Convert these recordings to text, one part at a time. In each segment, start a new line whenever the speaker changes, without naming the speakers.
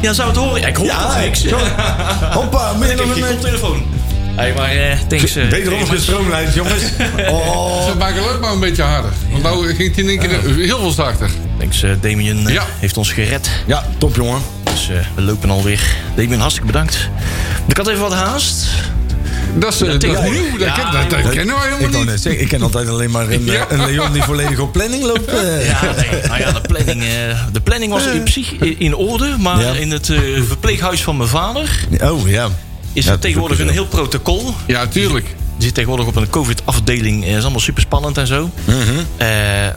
Ja, zou het horen? Ja, ik hoor
Ja,
toch niks.
ik-
Ja.
Hoppa,
Ik
meer
heb
dan
je
een...
koptelefoon. Hé, maar eh thanks. eh,
Wederom
Thomas.
gestroomlijnd, jongens. Oh,
Maak het leuk maar een beetje harder. Want nou ging het in één keer heel veel zachter.
Thanks, eh, Damien eh,
Ja.
heeft ons gered.
ja, top, jongen.
Dus eh, we lopen alweer. Damien, hartstikke bedankt. Ik had even wat haast.
Dat is, eh, dat is nieuw, dat, ken- dat, dat kennen wij
Ik
helemaal
wou
niet.
net zeggen, ik ken altijd alleen maar een,
Ja.
eh, een Leon die volledig op planning loopt. eh.
Ja, nee. Nou ja, de planning, eh, de planning was in, psych- in- in orde. Maar
Ja.
in het eh, verpleeghuis van mijn vader
Oh, ja.
is
Ja,
er tegenwoordig een
dat is
heel protocol.
Ja, tuurlijk. Oh,
Je zit tegenwoordig op een COVID-afdeling. eh, is allemaal super spannend en zo. Eh,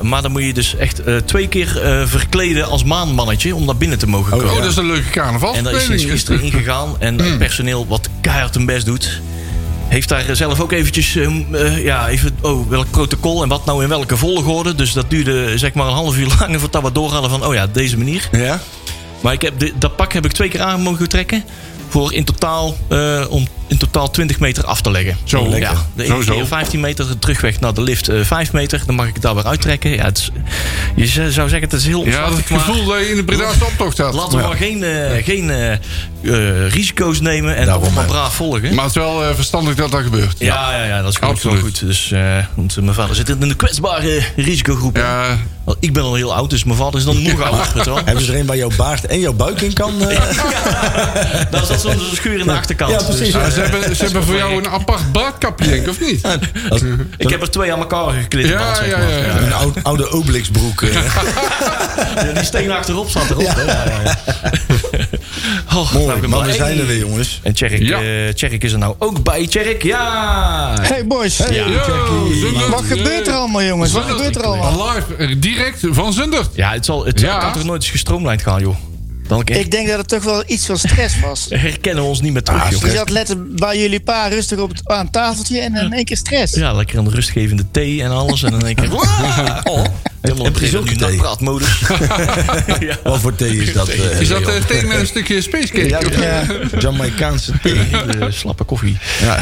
maar dan moet je dus echt eh, twee keer eh, verkleden als maanmannetje om naar binnen te mogen komen.
Oh, dat is een leuke carnaval.
En daar is sinds gisteren ingegaan. En
Hmm.
het personeel, wat keihard hun best doet, heeft daar zelf ook eventjes... eh, m, eh, ja, even, oh, welk protocol en wat nou in welke volgorde. Dus dat duurde zeg maar een half uur lang voordat we door hadden van... oh ja, deze manier.
Ja?
Maar ik heb, dit- dat pak heb ik twee keer aan mogen trekken... voor in totaal, eh, om in totaal 20 meter af te leggen.
Zo, lekker.
Ja, de ene
Zo, zo.
keer 15 meter, de terugweg naar de lift eh 5 meter. Dan mag ik het daar weer uittrekken. Ja, het is, je z- zou zeggen, het is heel
Ja, dat
opslachtig,
het
maar-
gevoel dat je in de Bredaanse optocht staat.
Laten we maar geen, eh, geen eh, eh, risico's nemen en
Daarom,
toch maar
hè.
braaf volgen.
Maar het is wel eh, verstandig dat dat gebeurt.
ja, ja, ja, dat is gewoon
Absoluut.
gewoon goed. Dus, eh, want eh, mijn vader zit in de kwetsbare risicogroep. hè.
Ja,
Want Ik ben al heel oud, dus mijn vader is dan nog ouder. weet je wel.
Hebben ze er een waar jouw baard en jouw buik in kan? eh?
Daar zat soms een schuur in de achterkant.
Ja, precies.
Dus, eh,
ze hebben, ze hebben voor jou een apart baardkapje, denk ik, of niet?
Als-
ik heb er twee aan elkaar geklikt.
Ja,
zeg
ja,
maar.
ja, ja.
Een oude, oude Obelix broek. eh.
Ja, Die steen achterop zat erop. hè. Ja. Ja, Oh, nou, ik
Mooi,
ben
maar we
blij.
zijn er weer, jongens.
En Tjerk,
Ja.
eh, Tjerk is er nou ook bij. Tjerk, ja!
Hey boys, wat gebeurt er allemaal jongens? Wat gebeurt er allemaal?
Live, eh, direct van Zundert.
Ja, het, zal, het zal-
Ja.
kan toch nooit eens gestroomlijnd gaan, joh. Dan
Ik denk dat het toch wel iets van stress was. Dus
herkennen we ons niet meer terug,
Ah,
joh.
Je zat letten bij jullie pa rustig op het, aan het tafeltje en in één keer stress.
Ja, lekker een rustgevende thee en alles. En dan denk ik... "Waaah!" Oh, helemaal
heb je
op
zulke
nu
thee?
praatmodus. ja.
Wat voor thee is dat? eh?
Is dat eh, thee met een stukje spacecake?
Ja,
of-
ja, Jamaicaanse thee.
Hele slappe koffie.
Ja.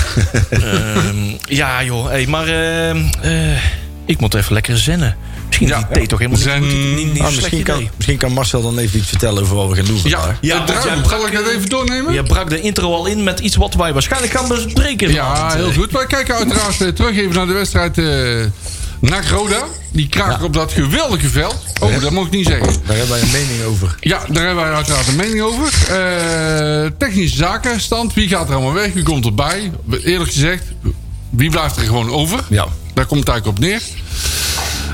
Ehm, ja, joh. Hey, maar ehm, eh, ik moet even lekker zennen. Misschien is
Ja.
die thee toch helemaal
Zen-
niet, niet, niet, niet
Ah,
een slecht
misschien, kan,
idee.
misschien kan Marcel dan even iets vertellen over wat we gaan doen vandaag.
Ja, ja
want jij
druim.
brak-
Zal ik dat even doornemen?
Je brak de intro al in met iets wat wij waarschijnlijk gaan bespreken.
Ja,
Want, eh,
heel goed. Wij kijken uiteraard eh, terug even naar de wedstrijd eh NAC Roda. Die kraakt op dat geweldige veld. Oh, dat mag ik niet zeggen.
Daar hebben wij een mening over.
Ja, daar hebben wij uiteraard een mening over. Eh, technische zaken, stand. Wie gaat er allemaal weg? Wie komt erbij? Eerlijk gezegd, wie blijft er gewoon over?
Ja.
Daar komt het eigenlijk op neer.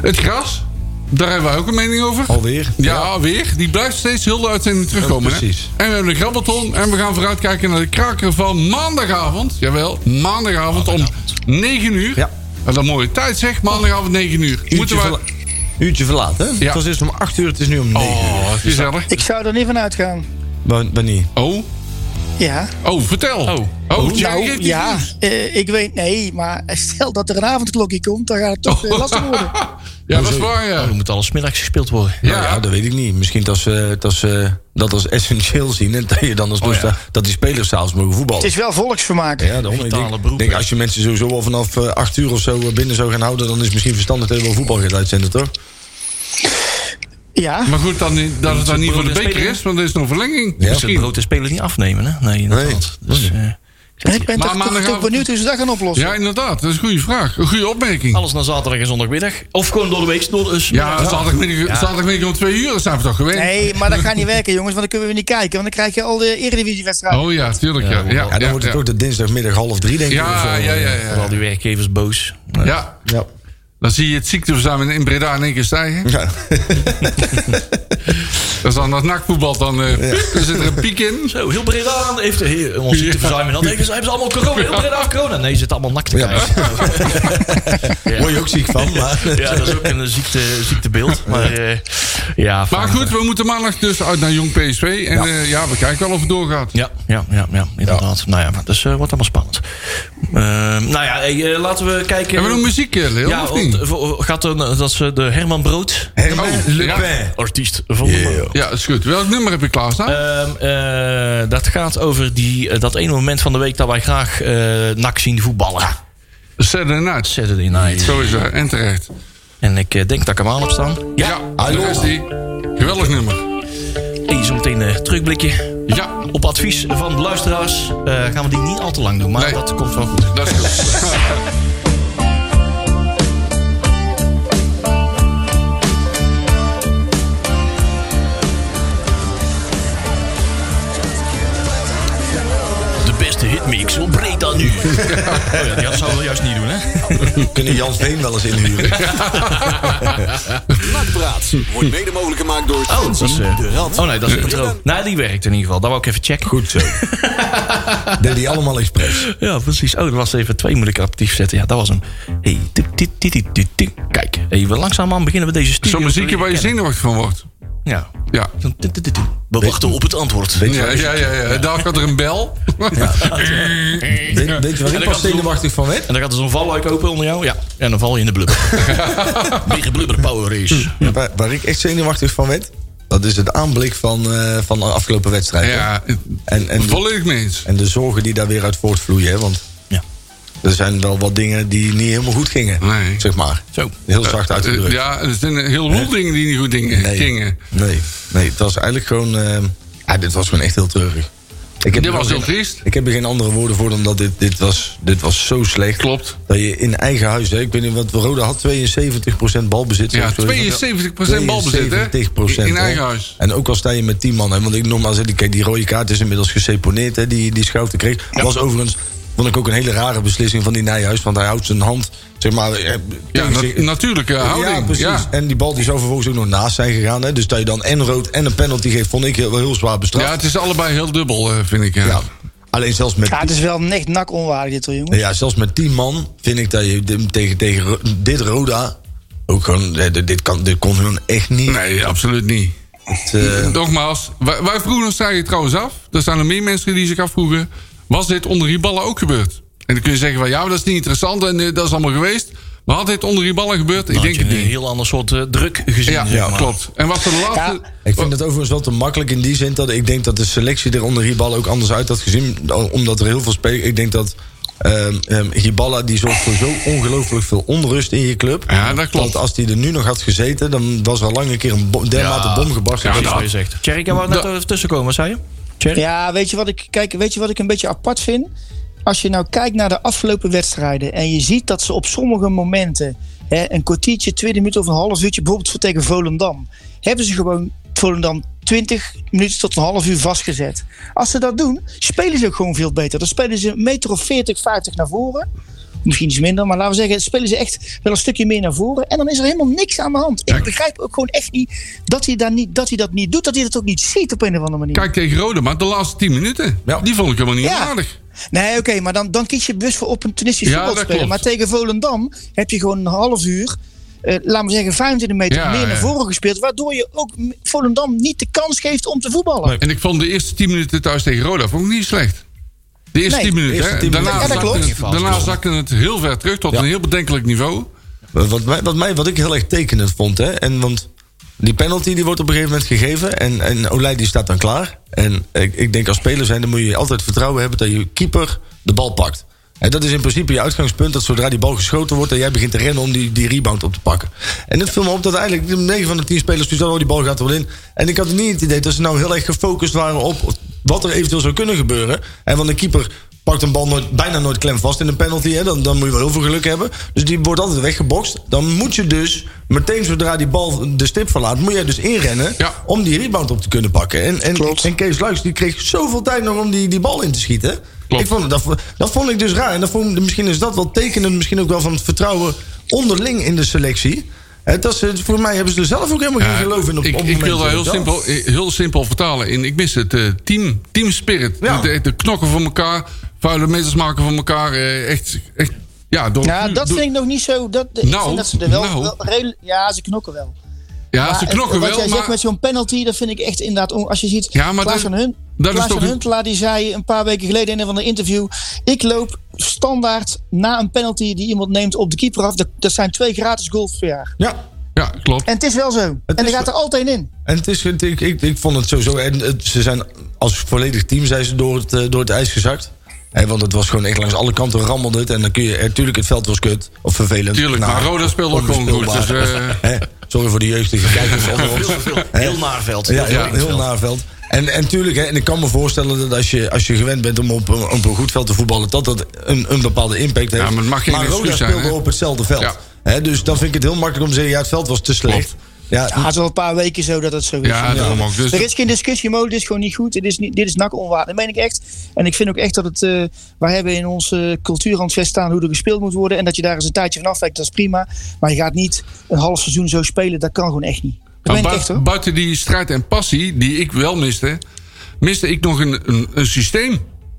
Het gras, daar hebben wij ook een mening over.
Alweer?
Ja, weer. Die blijft steeds heel de uitzending terugkomen.
Ja, precies.
Hè? En we hebben de grabbelton. En we gaan vooruitkijken naar de kraker van maandagavond. Jawel, maandagavond, om 9 uur.
Ja.
Wat een mooie tijd zeg, maandagavond 9 uur.
Uurtje,
we...
verla- uurtje verlaat, hè?
Ja.
Het was eerst om 8 uur, het is nu om 9 uur.
Oh, gezellig.
Ik zou er niet van uitgaan.
Wa- Wanneer? Nou
Oh,
Ja.
oh, vertel.
Oh.
oh jij geeft
Nou
die
ja,
nieuws.
eh, ik weet nee, maar stel dat er een avondklokje komt, dan gaat het toch
Oh.
eh, lastig worden.
Ja, dat is waar, ja.
Oh, Er moet alles middags gespeeld worden. Dus
Ja,
Nou ja, dat weet ik niet. Misschien dat ze, dat ze dat als essentieel zien. En dat je dan als
Oh,
toestaan- dat die spelers s'avonds mogen voetballen.
Het is wel volksvermaak.
Ja, daarom. Ik
Vitale
denk,
beroep,
denk
hè.
als je mensen sowieso al vanaf eh, 8 uur of zo eh, binnen zou gaan houden... dan is het misschien verstandig dat je wel voetbal gaat uitzenden, toch?
Ja.
Maar goed, dan, niet- dat het dan niet voor de beker is, want er is nog verlenging.
Ja.
Dus het
Misschien.
brood de spelers niet afnemen, hè? Nee, inderdaad. Dus, eh, ik zeg
Ik
je,
ben
Maar
toch, toch-
maandagavond-
toch benieuwd hoe ze dat gaan oplossen.
Ja, inderdaad. Dat is een goede vraag. Een goede opmerking.
alles naar zaterdag en zondagmiddag. Of gewoon door de week. Door, dus. de-
Ja, zaterdagmiddag, zaterdagmiddag om twee uur, dat zijn we toch gewend?
Nee, maar dat gaat niet werken, jongens, want dan kunnen we niet kijken. Want dan krijg je al de eredivisiewedstrijd.
Oh ja, tuurlijk, ja. Ja,
Ja,
Ja, dan wordt het ook de dinsdagmiddag half drie, denk ik. of zo. eh,
Ja, ja, ja,
Voor al
ja.
die werkgevers boos. Nou,
Ja,
ja.
dan zie je het ziekteverzuim in Breda in één keer stijgen.
Ja.
Dat is dan dat nakvoetbal, dan eh, er zit er een piek in.
Zo, heel Breda heeft heel, ons ziekte verzuimen. En dan denken ze, hebben ze allemaal corona? Heel Breda heeft corona. Nee, ze zitten allemaal nakt te
Ja.
kijken.
Word je ook ziek van, maar...
Ja, dat is ook een eh, ziekte, ziektebeeld. Maar, eh, ja,
Maar
fijn.
goed, we moeten maandag dus uit naar Jong PSV. En ja, ja we kijken wel of het doorgaat.
Ja, ja, ja, ja inderdaad. Nou ja, maar dus eh, wordt allemaal spannend. Ehm, nou ja, hey, eh, laten we kijken.
Hebben we nog muziek, eh, Leo,
Ja,
of niet?
want, eh, voor- gaat er, dat is eh, de Herman Brood.
Oh, ja.
Artiest van de maand.
Ja, is goed. Welk nummer heb je klaarstaan?
Ehm, eh, dat gaat over die, eh, dat ene moment van de week dat wij graag eh NAC zien voetballen.
Saturday Night.
Saturday night.
Zo is het, en terecht.
En ik eh, denk dat ik hem aan heb staan.
Ja, daar is die. Geweldig nummer.
Hey, zometeen een terugblikje.
Ja,
Op advies van luisteraars eh, gaan we die niet al te lang doen. Maar
Nee.
dat komt wel goed.
dat is goed.
De beste hitmix op breed dan nu. oh ja, die had- zou we juist niet doen, hè?
Kunnen Jan Veen wel eens inhuren?
Nakpraat wordt mede mogelijk gemaakt door
Oh, dat is, eh,
de Rad.
Oh nee, dat is het patroon. Nou, die werkt in ieder geval. Dat wou ik even checken.
Goed zo. Deed hij allemaal expres.
Ja, precies. Oh, er was even twee moet ik actief zetten. Ja, dat was hem. Hey, tuk, tuk, tuk, tuk, tuk, tuk. Kijk, even langzaamaan beginnen we deze studie.
Zo'n muziekje waar je zenuwachtig van wordt.
Ja.
Ja.
Tuk, tuk, tuk, tuk. We wachten op het antwoord.
Weet je,
Ja, ja, ja, ja. Daar gaat er een bel.
weet, weet je waar
En
ik
dan
pas
kan het
zenuwachtig van werd?
En dan gaat er zo'n valluik open onder jou. Ja. En dan val je in de blubber. Big blubber power race.
Waar, waar ik echt zenuwachtig van werd? Dat is het aanblik van, eh, van de afgelopen wedstrijd. hè?
Ja,
En, en, de,
volledig mee eens.
en de zorgen die daar weer uit voortvloeien. Hè? Want
Ja.
er zijn wel wat dingen die niet helemaal goed gingen.
Nee. Eh,
Zeg maar.
Zo.
Heel zacht uitgedrukt.
Ja, er zijn een heleboel dingen die niet goed dingen, gingen.
Nee, nee, het was eigenlijk gewoon. eh, ja, dit was gewoon echt heel treurig. Ik heb
Dit
er
was
ook
heel
geen-
triest.
Ik heb er geen andere woorden voor dan dat dit, dit, was, dit was zo slecht.
Klopt.
Dat je in eigen huis, hè, ik weet niet wat, Roda had 72% balbezit.
Ja,
Zo,
72% balbezit, hè?
72%,
In
hè.
eigen huis.
En ook al sta je met 10 man, hè, want ik normaal zeg, kijk, die rode kaart is inmiddels geseponeerd, hè, die, die Schouten kreeg. Was overigens, vond ik ook een hele rare beslissing van die Nijhuis, want hij houdt zijn hand, zeg maar... eh,
Ja,
tegen
na-
zich-
natuurlijke houding.
ja, precies.
Ja.
En die bal die zou vervolgens ook nog naast zijn gegaan. Hè? Dus dat je dan en rood en een penalty geeft, vond ik heel- wel heel zwaar
Ja,
bestraft.
het is allebei heel dubbel, eh, vind ik. eh.
Ja. Alleen zelfs met,
Ja, het is wel echt nak onwaardig dit hoor, jongens.
ja, zelfs met 10 man vind ik dat je dit- tegen, tegen Ro- dit Roda ook gewoon... eh, Dit, dit, kan, dit kon hun echt niet.
Nee, absoluut niet.
Het, eh,
Nogmaals, wij, wij vroegen ons daar trouwens af. Er zijn er meer mensen die zich afvroegen. Was dit onder die ballen ook gebeurd? En dan kun je zeggen van ja, maar dat is niet interessant en eh, dat is allemaal geweest. Maar had dit onder die ballen gebeurd? Ik
Dan had
denk
je
het
een
niet.
heel ander soort eh, druk gezien.
Ja,
zeg maar.
klopt. En was de laatste.
Ja.
ik vind het overigens wel te makkelijk in die zin dat ik denk dat de selectie er onder Hiballa ook anders uit had gezien. Omdat er heel veel spelers... Ik denk dat ehm ehm, Hiballa die zorgt voor zo ongelooflijk veel onrust in je club.
Ja, dat klopt.
Want als die er nu nog had gezeten, dan was er al lang een keer een bo- dermate
Ja.
bom gebarsten.
Ja, nou,
Precies wat
dat-
je zegt. Thierry, ik wou net
Dat-
even tussenkomen. Wat zei je? Thierry?
Ja, weet je wat ik, kijk, weet je wat ik een beetje apart vind? Als je nou kijkt naar de afgelopen wedstrijden en je ziet dat ze op sommige momenten, hè, een kwartiertje, 20 minuten of een half uurtje, bijvoorbeeld voor tegen Volendam, hebben ze gewoon Volendam 20 minuten tot een half uur vastgezet. Als ze dat doen, spelen ze ook gewoon veel beter. Dan spelen ze een meter of 40, 50 naar voren. Misschien iets minder, maar laten we zeggen, spelen ze echt wel een stukje meer naar voren. En dan is er helemaal niks aan de hand. Ik begrijp ook gewoon echt niet dat hij, daar niet, dat, hij dat niet doet, dat hij dat ook niet ziet op een of andere manier.
Kijk tegen Rode, maar de laatste 10 minuten.
Ja.
Die vond ik helemaal niet
Ja.
aardig.
Nee, oké, maar dan, dan kies je bewust voor opportunistisch
Ja,
voetbal te
dat
spelen. Maar
klopt.
tegen Volendam heb je gewoon een half uur, eh laten we zeggen 25 meter
Ja,
meer
ja.
naar voren gespeeld. Waardoor je ook m- Volendam niet de kans geeft om te voetballen.
Nee.
En ik vond de eerste 10 minuten thuis tegen Roda vond ik niet slecht. De eerste
Nee,
10 minuten.
eerste
hè.
10 minuten.
Daarna,
Ja, dat
zakte
klopt.
het, daarna zakte het heel ver terug tot
Ja.
een heel bedenkelijk niveau.
Wat, mij, wat, mij, wat ik heel erg tekenend vond, hè, en want die penalty die wordt op een gegeven moment gegeven en, en Olij die staat dan klaar. En ik, ik denk als speler zijn, dan moet je altijd vertrouwen hebben dat je keeper de bal pakt. En dat is in principe je uitgangspunt, dat zodra die bal geschoten wordt... dat jij begint te rennen om die, die rebound op te pakken. En het viel me op dat eigenlijk de 9 van de 10 spelers... die oh, die bal gaat er wel in. En ik had niet het idee dat ze nou heel erg gefocust waren op... wat er eventueel zou kunnen gebeuren. En van de keeper pakt een bal nooit, bijna nooit klem vast in een penalty. Hè? Dan, dan moet je wel heel veel geluk hebben. Dus die wordt altijd weggebokst. Dan moet je dus meteen zodra die bal de stip verlaat... moet je dus inrennen
Ja.
om die rebound op te kunnen pakken. En, en, en Kees Luijks die kreeg zoveel tijd nog om die, die bal in te schieten.
Klopt.
Ik vond, het- dat, vo- dat vond ik dus raar. En dat vond, misschien is dat wel tekenend misschien ook wel van het vertrouwen onderling in de selectie. Hè, dat ze, voor mij hebben ze er zelf ook helemaal geen geloof in. Op,
ik,
op
ik
momenten
wil dat heel
zelf.
simpel, eh, heel simpel vertalen. En ik mis het eh, team, team spirit.
Ja.
De, de knokken van elkaar, vuile meters maken van elkaar. eh, echt, echt, ja, door,
Ja, dat
door-
vind ik nog niet zo. Dat, ik
Nou,
vind dat ze er wel,
nou.
wel redelijk- Ja, ze knokken wel.
ja
Maar
ze
het-
knokken
wat
wel,
jij
maar
zegt met zo'n penalty, dat vind ik echt inderdaad... on- Als je ziet,
Ja, maar
Klaas
dat-
van Hunt,
dat is
Klaas
toch
van
een-
Huntelaar, die zei een paar weken geleden in een van de interview... ik loop standaard na een penalty die iemand neemt op de keeper af. Dat, dat zijn twee gratis goals per jaar.
Ja,
ja, klopt.
En het is wel zo.
is
en er gaat er altijd in.
En het is, ik, ik, ik vond het sowieso. En het- ze zijn als volledig team zijn ze door het, eh, door het ijs gezakt. Hè, want het was gewoon echt langs alle kanten rammelde het. En dan kun je... Natuurlijk, het veld was kut. Of vervelend.
Tuurlijk,
Nou,
maar Roda speelde ook gewoon goed. Dus,
onbespeelbaar.
eh,
Hè, Sorry voor de jeugdige kijkers onder ons.
Heel naarveld.
Ja, heel,
naarveld.
heel naar veld. En, en tuurlijk, hè, en ik kan me voorstellen dat als je, als je gewend bent om op, een- op een goed veld te voetballen, dat dat een, een bepaalde impact heeft.
Ja, maar het mag geen
Roda
excuus zijn,
speelde
hè?
op hetzelfde veld.
Ja.
Hè, dus dan vind ik het heel makkelijk om te zeggen, ja, het veld was te slecht.
Klopt.
Ja,
Ja, het is al een paar weken zo dat het zo is.
ja, daarom ook. Dus
Er is geen discussie mogelijk, dit is gewoon niet goed. Dit is, niet, dit is nak onwaar. Dat meen ik echt. En ik vind ook echt dat het. eh, wij hebben in onze cultuurhandvest staan hoe er gespeeld moet worden. En dat je daar eens een tijdje van afwijkt, dat is prima. Maar je gaat niet een half seizoen zo spelen, dat kan gewoon echt niet. Dat
Maar
meen ik
bui-
echt hoor.
buiten die strijd en passie, die ik wel miste, miste ik nog een, een, een systeem.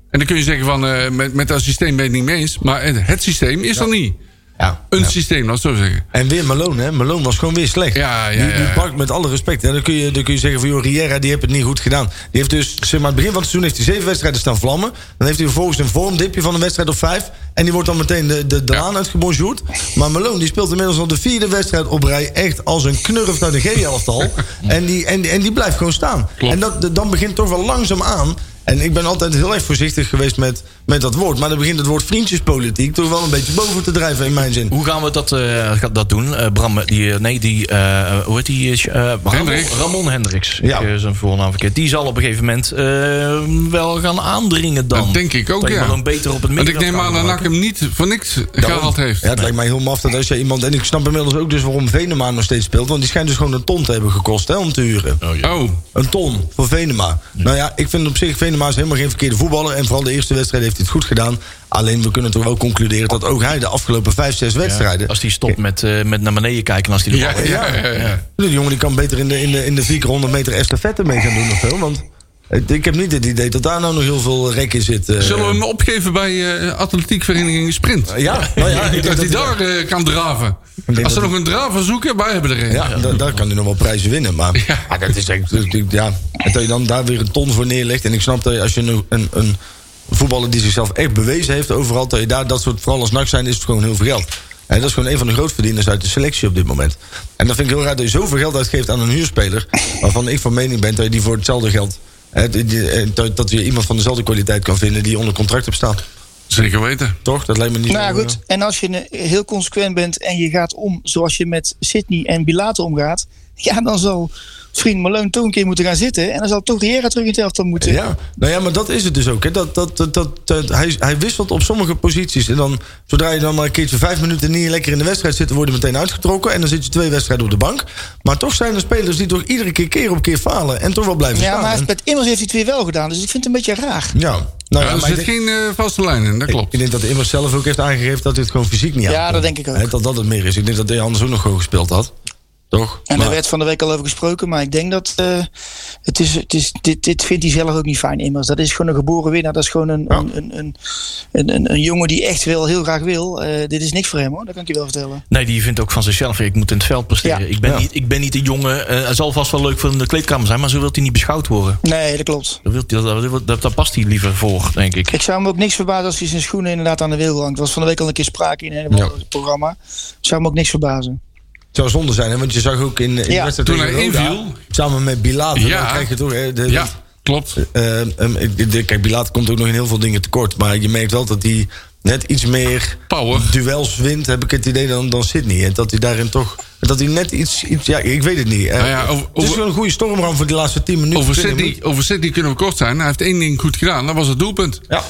En dan kun je zeggen van, eh, met, met dat systeem ben ik het niet mee eens. Maar het, het systeem is er niet.
ja.
Een systeem, laat ik het zo zeggen.
En weer Malone, hè? Malone was gewoon weer slecht.
Ja, ja,
die, die
ja.
pakt met alle respect. En dan kun je, dan kun je zeggen van, joh, Riera, die heeft het niet goed gedaan. Die heeft dus, zeg maar, het begin van het seizoen heeft hij zeven wedstrijden staan vlammen. Dan heeft hij vervolgens een vormdipje van een wedstrijd of vijf. En die wordt dan meteen de, de, de laan uitgebonjourd. Maar Malone, die speelt inmiddels al de vierde wedstrijd op rij. Echt als een knurf naar de G-elftal. en, die, en, en die blijft gewoon staan.
Klopt.
En dat, dan begint toch wel langzaam aan... En ik ben altijd heel erg voorzichtig geweest met, met dat woord. Maar dan begint het woord vriendjespolitiek toch wel een beetje boven te drijven in mijn zin.
Hoe gaan we dat, eh, gaat dat doen? Eh, Bram, eh, die, eh, nee, die, eh, hoe heet die? eh, eh, Ramon,
Hendricks.
Ramon Hendricks.
Ja.
Ik, eh, zijn voornaam verkeerd. Die zal op een gegeven moment eh, wel gaan aandringen dan.
Dat denk ik ook,
Dat je
ja.
Malone beter op het
Want
midden
ik neem aan dat NAC hem niet voor niks gehaald heeft.
Ja, het lijkt mij heel maf dat als je iemand... En ik snap inmiddels ook dus waarom Venema nog steeds speelt. Want die schijnt dus gewoon een ton te hebben gekost hè, om te huren.
Oh,
Een ton voor Venema. Nou ja, ik vind op zich Venema is helemaal geen verkeerde voetballer. En vooral de eerste wedstrijd heeft hij het goed gedaan. Alleen we kunnen toch wel concluderen dat ook hij de afgelopen vijf, zes wedstrijden...
Als die stopt met, eh, met naar beneden kijken als die de bal
ja,
heeft.
ja, ja, ja.
Die jongen die kan beter in de, in de, in de 400 meter estafette mee gaan doen of zo. Want het- ik heb niet het idee dat daar nou nog heel veel rek in zit. eh.
Zullen we hem opgeven bij eh atletiekvereniging Sprint?
Ja, nou ja. ik denk
Dat hij
dat hij-
daar eh, kan draven.
denk
Als ze
dat
nog een draver zoeken, wij hebben er een.
Ja, da- daar kan hij nog wel prijzen winnen. Maar
Ja.
ah, dat is echt. natuurlijk, Ja, en dat je dan daar weer een ton voor neerlegt. En ik snap dat je als je een, een, een voetballer die zichzelf echt bewezen heeft overal, dat je daar dat soort, vooral als nacht zijn, is het gewoon heel veel geld. En dat is gewoon een van de grootverdieners uit de selectie op dit moment. En dat vind ik heel raar dat je zoveel geld uitgeeft aan een huurspeler. waarvan ik van mening ben dat je die voor hetzelfde geld. hè, die- die- eh, dat- dat je iemand van dezelfde kwaliteit kan vinden die onder contract op staat.
Zeker weten.
Toch? Dat lijkt me niet
Nou ja,
zo,
goed, en als je eh, heel consequent bent en je gaat om zoals je met Sydney en Bilater omgaat, ja, dan zal vriend Malone toch een keer moeten gaan zitten. En dan zal toch Riera terug in het elftal moeten.
Ja, nou ja, maar dat is het dus ook. Hè. Dat, dat, dat, dat, dat- hij, hij wisselt op sommige posities. En dan, zodra je dan maar een keertje vijf minuten niet lekker in de wedstrijd zit, word je meteen uitgetrokken. En dan zit je twee wedstrijden op de bank. Maar toch zijn er spelers die toch iedere keer keer op keer falen. En toch wel blijven
Ja,
staan.
maar hij heeft-
En-
met Immers heeft hij het weer wel gedaan, dus ik vind het een beetje raar.
ja, nou ja,
Ja, er
maar ik
zit
denk-
geen eh, vaste lijn in, dat
ik
klopt.
denk dat immers zelf ook heeft aangegeven dat hij het gewoon fysiek niet
Ja,
aankon.
dat denk ik ook.
Hè, Dat dat het meer is. Ik denk dat hij anders ook nog gewoon gespeeld had. Toch?
En
Maar-
daar werd van de week al over gesproken, maar ik denk dat eh, het is, het is, dit, dit vindt hij zelf ook niet fijn immers. Dat is gewoon een geboren winnaar. Dat is gewoon een, een, een, een, een, een- een jongen die echt wel heel graag wil. Eh, dit is niks voor hem hoor, dat kan ik je wel vertellen.
Nee, die vindt ook van zichzelf, ik moet in het veld presteren.
Ja.
Ik, ben
Ja.
niet, ik ben niet de jongen. eh, het zal vast wel leuk voor in de kleedkamer zijn, maar zo wil hij niet beschouwd worden.
Nee, dat klopt.
Daar, wil hij- daar, daar- daar- daar past hij liever voor, denk ik.
Ik zou hem ook niks verbazen als hij zijn schoenen inderdaad aan de wil hangt. Er was van de week al een keer sprake in een
Ja.
programma. Zou hem ook niks verbazen.
Het zou zonde zijn, hè? want je zag ook in, in
Ja.
de wedstrijd
Toen
tegen
hij
Roda,
inviel.
samen met Bilater,
Ja.
dan krijg je toch... hè, de-
Ja, klopt.
Eh, ehm, ik- de- kijk, Bilaat komt ook nog in heel veel dingen tekort. Maar je merkt wel dat hij net iets meer
Power.
duels wint, heb ik het idee, dan, dan Sydney. En dat hij daarin toch. Dat hij net iets. iets ja, ik weet het niet. Eh,
Nou ja, over-
het is
over-
wel een goede stormram voor die laatste 10 minuten.
Over
20
Sydney, over Sydney kunnen we kort zijn. Hij heeft één ding goed gedaan. Dat was het doelpunt.
Ja.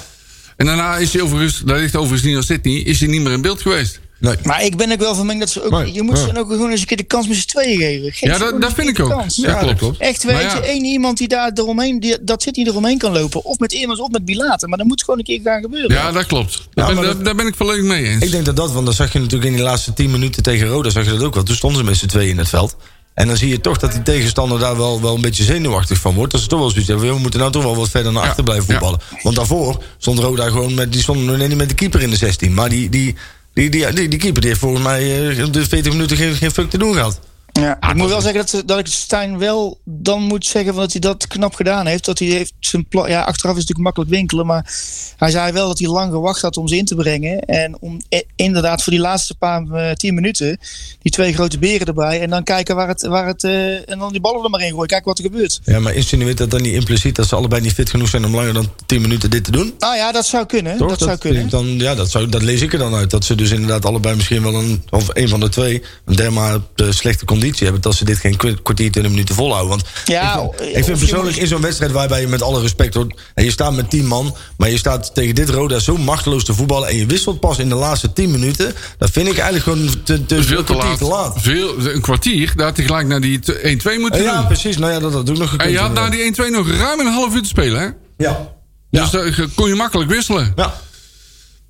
En daarna is hij overigens, dat ligt overigens niet aan Sydney, is hij niet meer in beeld geweest.
Nee.
Maar ik ben ook wel van mening dat ze ook...
Nee,
je moet
ja.
ze dan ook gewoon eens een keer de kans met z'n tweeën geven. Geef
Ja,
ze gewoon
dat, dat
eens
vind
een
ik
keer de
ook.
kans.
Ja, dat klopt.
Echt, weet
Maar
je,
ja.
één iemand die daar eromheen, die, dat zit niet eromheen kan lopen. Of met iemand of met bilaten. Maar dat moet gewoon een keer gaan gebeuren.
Ja, dat klopt. Daar, ben,
maar
daar-
dat-
daar ben ik volledig mee eens.
Ik denk dat dat, want dat zag je natuurlijk in die laatste 10 minuten tegen Roda, zag je dat ook wel. Toen stonden ze met z'n tweeën in het veld. En dan zie je toch dat die tegenstander daar wel, wel een beetje zenuwachtig van wordt. Dat ze toch wel zoiets hebben. We moeten nou toch wel wat verder naar
Ja,
achter blijven
ja.
voetballen. Want daarvoor stond Roda gewoon met, die stond nog net niet met de keeper in de 16. Maar die, die, die, die, die, die keeper die heeft volgens mij eh, de 40 minuten geen, geen fuck te doen gehad.
Ja, ik moet wel zeggen dat, dat ik Stijn wel dan moet zeggen van dat hij dat knap gedaan heeft. Dat hij heeft zijn plan. Ja, achteraf is het natuurlijk makkelijk winkelen. Maar hij zei wel dat hij lang gewacht had om ze in te brengen. En om eh, inderdaad voor die laatste paar eh, tien minuten. Die twee grote beren erbij. En dan kijken waar het. Waar het eh, en dan die ballen er maar in gooien. Kijken wat er gebeurt.
Ja, maar insinueert dat dan niet impliciet dat ze allebei niet fit genoeg zijn om langer dan 10 minuten dit te doen?
Nou ja, dat zou kunnen.
Toch?
Dat, zou kunnen.
Dan, ja, dat, zou, dat lees ik er dan uit. Dat ze dus inderdaad allebei misschien wel een, of een van de twee, een dermate eh, slechte conditie hebben. Dat ze dit geen kw- kwartier, 20 minuten volhouden. Want
Ja,
ik,
eh,
vind- ik
of
vind
je
persoonlijk
moet-
in zo'n wedstrijd waarbij je met alle respect hoor, en je staat met 10 man, maar je staat tegen dit Roda zo machteloos te voetballen en je wisselt pas in de laatste 10 minuten. Dat vind ik eigenlijk gewoon te, te,
Veel te
kwartier
laat. Veel, een kwartier, daar had hij gelijk naar die t- 1-2
Eh,
moeten
Ja,
doen.
precies. Nou ja, dat had ook nog gekund.
En je had na
inderdaad.
die 1-2 nog ruim een half uur te spelen, hè?
Ja.
Dus daar eh, kon je makkelijk wisselen.
Ja,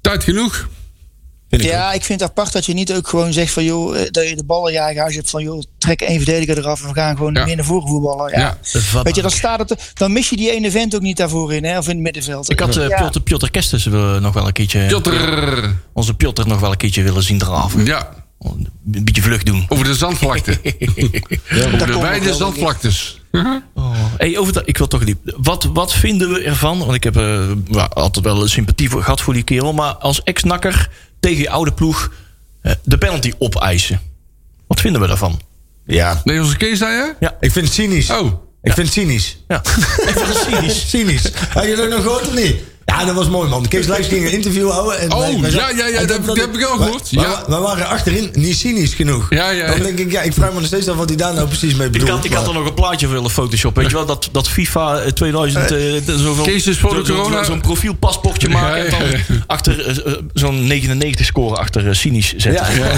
Tijd genoeg.
vind ik ook.
Ja, ik vind het apart dat je niet ook gewoon zegt van joh, eh, dat je de ballen in je eigen huis hebt van joh, trek één verdediger eraf en we gaan gewoon
Ja.
meer naar voren voetballen. Ja.
Ja.
Weet je, dan, staat het, dan mis je die ene vent ook niet daarvoor in, hè, of in het middenveld.
Ik had eh
Ja.
Piotr, Piotr Kestes eh, nog wel een keertje...
Jotter.
Onze Piotr nog wel een keertje willen zien draven.
Ja,
Een beetje vlucht doen.
over de zandvlakte. over de
komt nog
beide
wel,
zandvlaktes. Ja.
Oh. Hey, over dat, ik wil toch diep. Wat, wat vinden we ervan? Want ik heb eh, ja, altijd wel een sympathie voor, gehad voor die kerel. Maar als ex-nakker tegen je oude ploeg eh, de penalty opeisen. Wat vinden we daarvan?
ja.
Nee, onze Kees zei je?
Ik vind het cynisch.
Oh.
Ik vind het cynisch.
Ja, ik vind het cynisch.
Cynisch. Heb je dat nog gehoord of niet? Ja, dat was mooi, man. Kees Lijks ging een interview houden. En
Oh,
wij- wij
ja, ja, ja,
en
dat- dat heb ik ook
wij-
gehoord.
wij-
Ja.
wij waren achterin niet cynisch genoeg.
Ja, ja,
Dan
ja.
denk ik, ja, ik vraag me nog steeds af wat hij daar nou precies mee
Ik
bedoelt.
had, ik had er
maar-
nog een plaatje voor willen Photoshop. Weet je wel, dat, dat FIFA eh, 2000. eh, zoveel-
Kees is voor de
zo- zo-
corona.
Zo'n profielpaspoortje maken.
Ja, ja,
En dan achter eh, eh, zo'n 99 score achter eh, cynisch zetten. Ja,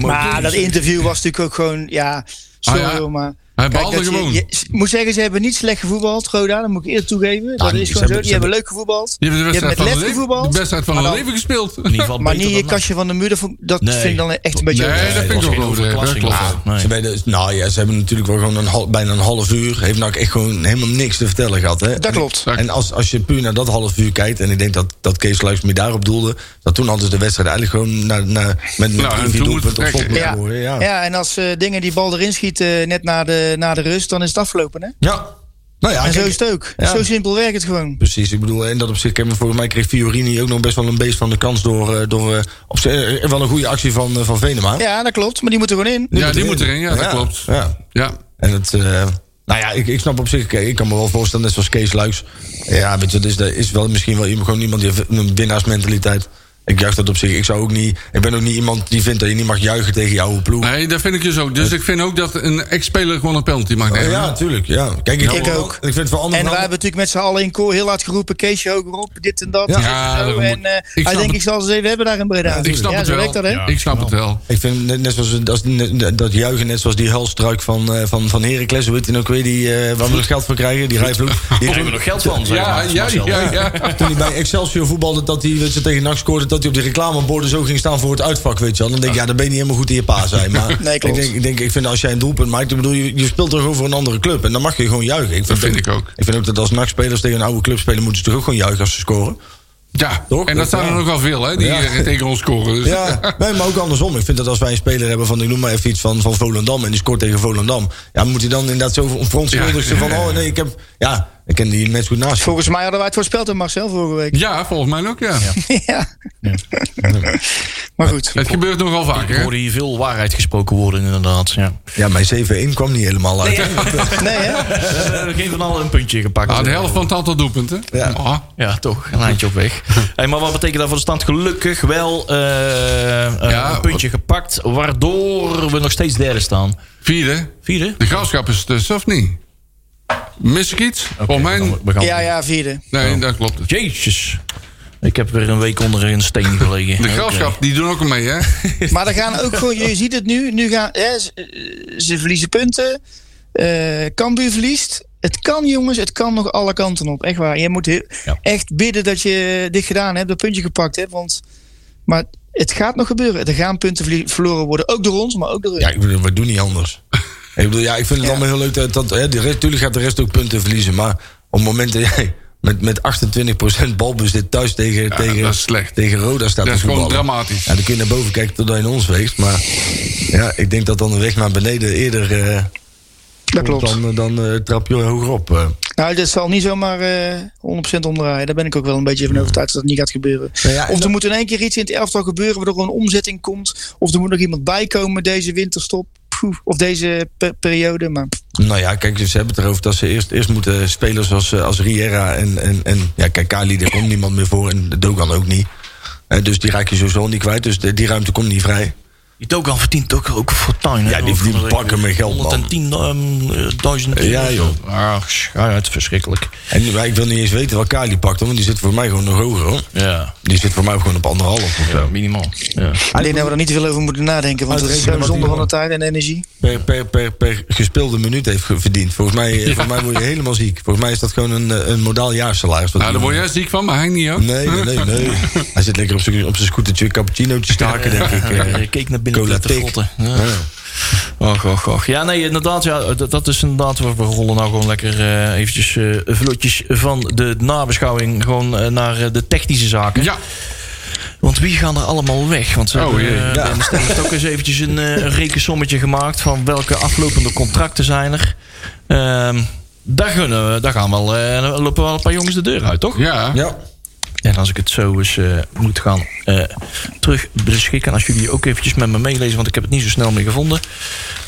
Maar dat interview was natuurlijk ook gewoon, ja, sorry
Ah, ja.
hoor, maar...
Hij
Kijk,
behaalde
dat je-
gewoon.
je- ik moet zeggen, ze hebben niet slecht gevoetbald, Roda. Dat moet ik eerlijk toegeven. dat
nee,
is
ze hebben-
gewoon zo.
ze
Die hebben leuk gevoetbald.
Je hebt de wedstrijd
met
van
lef
hun leven,
gevoetbald.
de wedstrijd van
Maar
hun
dan-
leven gespeeld.
Maar niet je kastje van de muur, dat, vond- dat
Nee.
vind ik dan echt een beetje...
Nee, dat vind ik ook overdreven. Dat klopt.
Ze weten, nou ja, ze hebben natuurlijk wel gewoon een, hal- bijna een half uur. Heeft nou echt gewoon helemaal niks te vertellen gehad. Hè?
Dat klopt.
En als, als je puur naar dat half uur kijkt, en ik denk dat, dat Kees Luijks me daarop doelde, dat toen hadden ze de wedstrijd eigenlijk gewoon naar, naar, met, met
Nou, en
drie,
toen
vier
moet
doelpunten op
vertrekken.
slot moeten
Ja.
gooien,
Ja. en als eh, dingen die bal erin schieten eh, net na de, na de rust, dan is het afgelopen. Hè?
Ja. Nou ja,
en zo
kijk,
is het ook.
ja.
Zo simpel werkt het gewoon.
Precies, ik bedoel, en dat op zich, ik heb- volgens mij kreeg Fiorini ook nog best wel een beest van de kans door, eh, door eh, op zich, eh, wel een goede actie van, eh, van Venema.
Ja, dat klopt, maar die moeten gewoon in.
Ja, die moet erin. Ja, dat klopt.
Ja.
Ja.
En het, eh, nou ja, ik, ik snap op zich, kijk, ik kan me wel voorstellen, net zoals Kees Luiks. Ja, weet je, dat is, dat is wel misschien wel iemand, gewoon iemand die heeft een winnaarsmentaliteit. Ik juich dat op zich. Ik zou ook niet, ik ben ook niet iemand die vindt dat je niet mag juichen tegen je oude ploeg.
Nee, dat vind ik dus ook. Dus ik vind ook dat een ex-speler gewoon een penalty mag
Eh,
nemen.
ja, natuurlijk. Ja. Kijk, ik,
Nou,
Ik
wel-
ook.
Ik vind het voor anderen.
En wij
wel-
hebben natuurlijk met z'n allen in koor heel hard geroepen... Keesje hoger op, dit en dat.
Ja.
dit en
Ja,
zo.
daarom
en
moet-
eh,
ik snap
hij denkt,
het.
ik zal ze even hebben daar in Breda.
ik snap
ja,
het
zo
wel.
werkt dat, hè?
Ik snap het wel.
Ik vind net, net zoals dat, net- dat juichen, net zoals die helstruik van, eh, van, van Heracles, hoe heet die ook weer, die, eh, waar we nog geld voor krijgen, die rijvloed. Die
Daar hebben we nog geld van, zeg
Ja,
maar,
ja,
Marcel.
ja, ja.
Toen hij bij Excelsior voetbalde, dat hij weet je, tegen NAC scoorde... dat hij op die reclameborden zo ging staan voor het uitvak, weet je wel. Dan denk ik, ja, dan ben je niet helemaal goed in je pa zijn. Maar
Nee,
ik,
klopt.
denk, ik denk, ik vind als jij een doelpunt maakt... Ik bedoel, je, je speelt toch over een andere club. En dan mag je gewoon juichen. Ik
Dat vind ik ook.
Ik vind ook dat als NAC-spelers tegen een oude club spelen... moeten ze toch ook gewoon juichen als ze scoren.
Ja,
Toch?
en
Dat
dat zijn er
wel.
nog wel veel, hè, die
Ja.
hier tegen ons scoren. Dus.
Ja, nee, maar ook andersom. Ik vind dat als wij een speler hebben van, ik noem maar even iets van, van Volendam... en die scoort tegen Volendam... ja, moet hij dan inderdaad zo verontschuldigd zijn van... oh nee, ik heb... Ja, ik ken die mensen goed naast.
Volgens mij hadden wij het voorspeld aan Marcel vorige week.
Ja, volgens mij ook, ja.
ja. maar goed.
Het gebeurt nogal vaker,
Er
hè.
hoorde hier veel waarheid gesproken worden, inderdaad. Ja.
Ja, mijn 7-1 kwam niet helemaal uit.
Nee, hè?
Eh, We hebben geen van allen een puntje gepakt.
Ah, de helft van het aantal doelpunten.
Ja.
Ah,
Ja, toch. Een eindje op weg. Hey, maar wat betekent dat voor de stand? Gelukkig wel eh, eh,
Ja,
een puntje gepakt. Waardoor we nog steeds derde staan.
vierde.
Vierde?
De graafschap is tussen, of niet? Mis ik iets? volgens mij...
We gaan- we gaan-
Ja, ja, vierde.
Nee, dat klopt. het.
Jezus. Ik heb weer een week onder een steen gelegen.
De
Oké.
graafschap, die doen ook mee, hè.
Maar dan gaan ook gewoon, je ziet het nu, nu gaan, hè, ze, eh, ze verliezen punten. Eh Cambuur verliest. Het kan, jongens, het kan nog alle kanten op. Echt waar. Je moet heel-
Ja.
echt bidden dat je dit gedaan hebt, dat puntje gepakt hebt. Want, maar het gaat nog gebeuren. Er gaan punten verlie- verloren worden. Ook door ons, maar ook door hun.
Ja, ik bedoel, we doen niet anders. Ik bedoel, ja, ik vind het allemaal heel leuk. Dat, dat, hè, de rest, tuurlijk gaat de rest ook punten verliezen. Maar op momenten, ja, met, met 28% balbezit thuis tegen, tegen,
dat is slecht.
tegen Roda staat
Dat
te
is gewoon
voetballen.
dramatisch.
Ja, dan kun je naar boven kijken totdat je naar ons weegt. Maar ja, ik denk dat dan de weg naar beneden eerder eh,
Dat
komt
klopt.
dan, eh, dan eh, trap je hogerop. eh.
Nou, dit zal niet zomaar eh 100% omdraaien. Daar ben ik ook wel een beetje van overtuigd dat dat niet gaat gebeuren.
Nou ja, en
of er
dat-
moet in één keer iets in het elftal gebeuren waardoor er een omzetting komt. Of er moet nog iemand bijkomen deze winterstop. Poeh, Of deze pe- periode. Maar
Nou ja, kijk, ze hebben het erover dat ze eerst, eerst moeten spelers als, eh, als Riera en, en, en... Ja, kijk, Kali, daar komt niemand meer voor en Dogan ook niet. Eh, dus die raak je sowieso niet kwijt. Dus de- die ruimte komt niet vrij.
Die Dogan verdient ook, ook eh, fortuin. hè?
Ja, die verdient
Over-
bakken met geld, man.
110.000 ehm, eh, euro.
Ja, joh.
Ah, ja, het is verschrikkelijk.
En maar ik wil niet eens weten wat Kali pakt, hoor, want die zit voor mij gewoon nog hoger, hoor.
Ja,
Die zit voor mij ook gewoon op anderhalf of zo.
ja minimaal. Ja.
ik denk dat we er niet veel over moeten nadenken. Want dat is
Uitrekenen
zo'n
wat
zonde
die-
van de tijd en energie.
Per, per, per, per gespeelde minuut heeft ge- verdiend. Volgens mij, eh, volgens mij word je helemaal ziek. Volgens mij is dat gewoon een, eh, een modaal jaarsalaris. wat
Nou, daar
die-
word jij ziek van, maar hij niet, hoor.
Nee, nee, nee. nee. Hij zit lekker op zijn- op zijn scootertje cappuccinootjes te hakken, denk ik.
Ja,
eh.
ik keek naar binnen
Cola
te
tik.
grotten. Ja.
Ja.
Och, och, och. Ja, nee, inderdaad. Ja, dat, dat is inderdaad. We we rollen nou gewoon lekker eh, eventjes eh, vlotjes van de nabeschouwing. Gewoon eh, naar eh, de technische zaken.
Ja,
Want wie gaan er allemaal weg? Want ze
Oh,
hebben,
jee.
eh,
Ja.
bij de stemming ook eens eventjes een, eh, een rekensommetje gemaakt... van welke aflopende contracten zijn er. Ehm daar, gunnen we, daar gaan wel, eh, daar lopen wel een paar jongens de deur uit, toch?
ja.
Ja.
En als ik het zo eens eh, moet gaan eh, terug beschikken... als jullie ook eventjes met me meelezen... want ik heb het niet zo snel meer gevonden.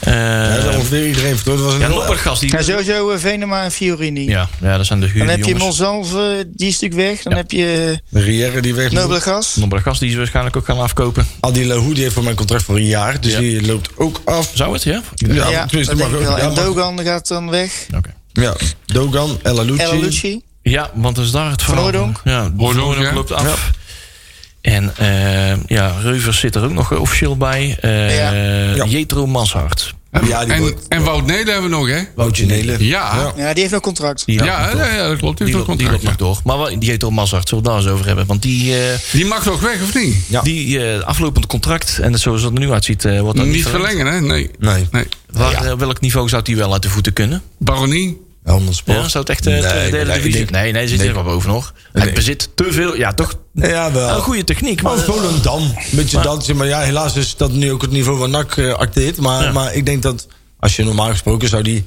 Eh,
Ja, dat ongeveer iedereen vertrouwd. Dat was
ja,
een
Loppergas. Die,
Ja, sowieso eh, Venema en Fiorini.
ja, ja, dat zijn de
Dan
huurde
heb je
jongens.
Monsalve, die is natuurlijk weg. Dan
Ja.
heb je eh,
Riera die weg moet.
Nobele Gas.
Loppergas die ze waarschijnlijk ook gaan afkopen.
Adi Lahou die heeft voor mijn contract voor een jaar. Dus
Ja.
die loopt ook af.
Zou het, ja?
Ja,
Ja,
tenminste,
dat denk
mag
ik
ook-
wel.
ja,
En
mag-
Dogan gaat dan weg.
Oké.
Ja, Dogan, El Alouchi.
El Lucci.
Ja, want dat is daar het
Van
verhaal.
Hooijdonk?
Ja,
Hooijdonk,
Hooijdonk
ja.
loopt af. En eh, ja, Reuvers zit er ook nog officieel bij. Eh
Ja.
Jetro Mashart.
En,
Ja, die
en,
wordt-
en Wout Nelen hebben we nog, hè?
Woutje Nelen.
Ja.
Ja, die heeft nog contract.
Die
Ja,
loopt nog
ja,
door.
ja, dat klopt. Die,
Die, loopt-
heeft nog
die loopt nog
contract,
door. Maar wel- die Jetro Mashart, zullen we het daar eens over hebben. Want die, eh,
ja. Die mag nog weg, of niet?
Ja.
die eh, aflopend contract, en zoals het er nu uitziet, eh, wordt dat
Niet
verlengd.
verlengen, hè? Nee.
Nee,
nee.
Waar, eh, welk niveau zou die wel uit de voeten kunnen?
Baronie.
Helmond Sport.
Ja, zou het echt eh, tweede, derde
nee, ik
divisie?
denk-
Nee, nee, zit
nee.
er wel boven nog. Hij
Nee.
bezit te veel, ja toch,
Ja, Oh, wel.
een goede techniek. Maar,
Maar Volendam, een beetje dansen. Maar ja, helaas is dat nu ook het niveau waar NAC eh, acteert. Maar,
Ja.
maar ik denk dat, als je normaal gesproken zou die...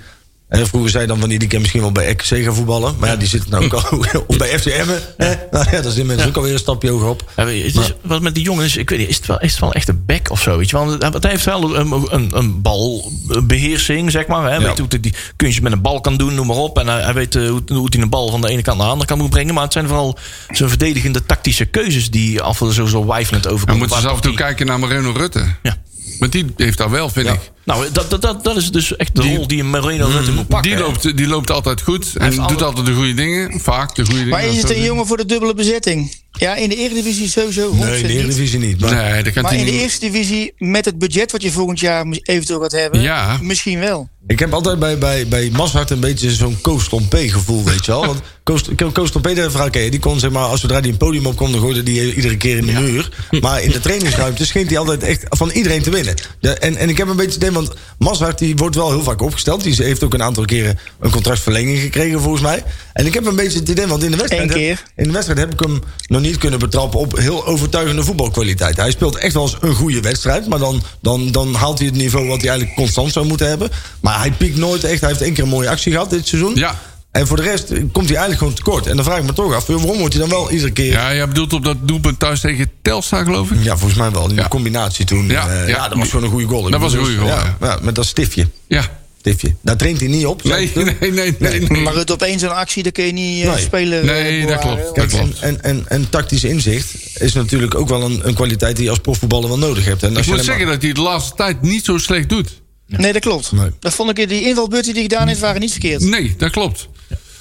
En vroeger zei dan van die, die kan misschien wel bij XC gaan voetballen. Maar ja, die zit nou ook al of bij FCM. hè? Nou ja, daar zitten mensen ook alweer een stapje hoger op.
Ja, weet je, het is, wat met die jongens, ik weet niet, is het wel, is het wel echt een bek of zo? Weet je? Want hij- want hij heeft wel een, een, een balbeheersing, zeg maar. Hè? Weet hoe hij die kunstjes met een bal kan doen, noem maar op. En hij, hij weet eh, hoe, hoe hij een bal van de ene kant naar de andere kant moet brengen. Maar het zijn vooral zijn verdedigende tactische keuzes die af en toe zo, zo wijfelend
Dan
overkomen.
moeten ze
Waar-
af en toe kijken naar Marino Rutte.
Ja.
Want die heeft daar wel, vind
Ja.
ik.
Nou, dat, dat, dat, dat is dus echt de rol die een Moreno Rutte moet pakken.
Die
hè.
loopt, die loopt altijd goed en
heeft
doet
alle-
altijd de goede dingen. Vaak de goede dingen.
Maar is het
dat
een
soort
jongen voor de dubbele bezetting? Ja, in de Eredivisie sowieso.
Nee, in de
Eredivisie.
Eredivisie niet.
dingen.
Maar
Nee, dat kan
Maar
die
in de
niet.
eerste divisie, met het budget wat je volgend jaar mis- eventueel gaat hebben,
Ja.
misschien wel.
Ik heb altijd bij, bij, bij Mashart een beetje zo'n Koos Tompé gevoel, weet je wel. Want Koos, Ko- Koos Tompé, dat verhaal ken je. die kon zeg maar, als zodra die een podium op kon, dan gooide die iedere keer in de muur. Maar in de trainingsruimte scheen hij altijd echt van iedereen te winnen. De- en, en ik heb een beetje het idee, want Mashart die wordt wel heel vaak opgesteld. Die heeft ook een aantal keren een contractverlenging gekregen, volgens mij. En ik heb een beetje het idee, want in de wedstrijd,
Eén
heb-
keer.
in de wedstrijd heb ik hem nog niet kunnen betrappen op heel overtuigende voetbalkwaliteit. Hij speelt echt wel eens een goede wedstrijd, maar dan, dan, dan haalt hij het niveau wat hij eigenlijk constant zou moeten hebben. Maar hij piekt nooit echt. Hij heeft één keer een mooie actie gehad dit seizoen.
Ja.
En voor de rest komt hij eigenlijk gewoon tekort. En dan vraag ik me toch af, waarom wordt hij dan wel iedere keer... Ja,
Ja, jij bedoelt op dat doelpunt thuis tegen Telstar, geloof ik?
volgens mij wel. Die
Ja.
combinatie toen. eh,
Ja,
Ja,
ja.
dat was gewoon een goede goal. Ik
Dat was een
bedoel,
goede goal,
Ja, ja, met dat stiftje.
Ja.
stiftje. Daar traint hij niet op. zeg
Nee,
ik.
nee, nee, nee. nee.
Maar het op één zo'n actie, daar kun je niet eh,
Nee.
spelen. eh,
Nee, dat
bewaren.
klopt. Dat
Kijk, en,
klopt.
en, en, en tactisch inzicht is natuurlijk ook wel een, een kwaliteit die je als profvoetballer wel nodig hebt. En als
Ik
je
moet
alleen maar-
zeggen dat hij het de laatste tijd niet zo slecht doet.
Nee, dat klopt.
Nee.
Dat vond ik, die invalbeurten die hij gedaan heeft, waren niet verkeerd.
Nee, dat klopt.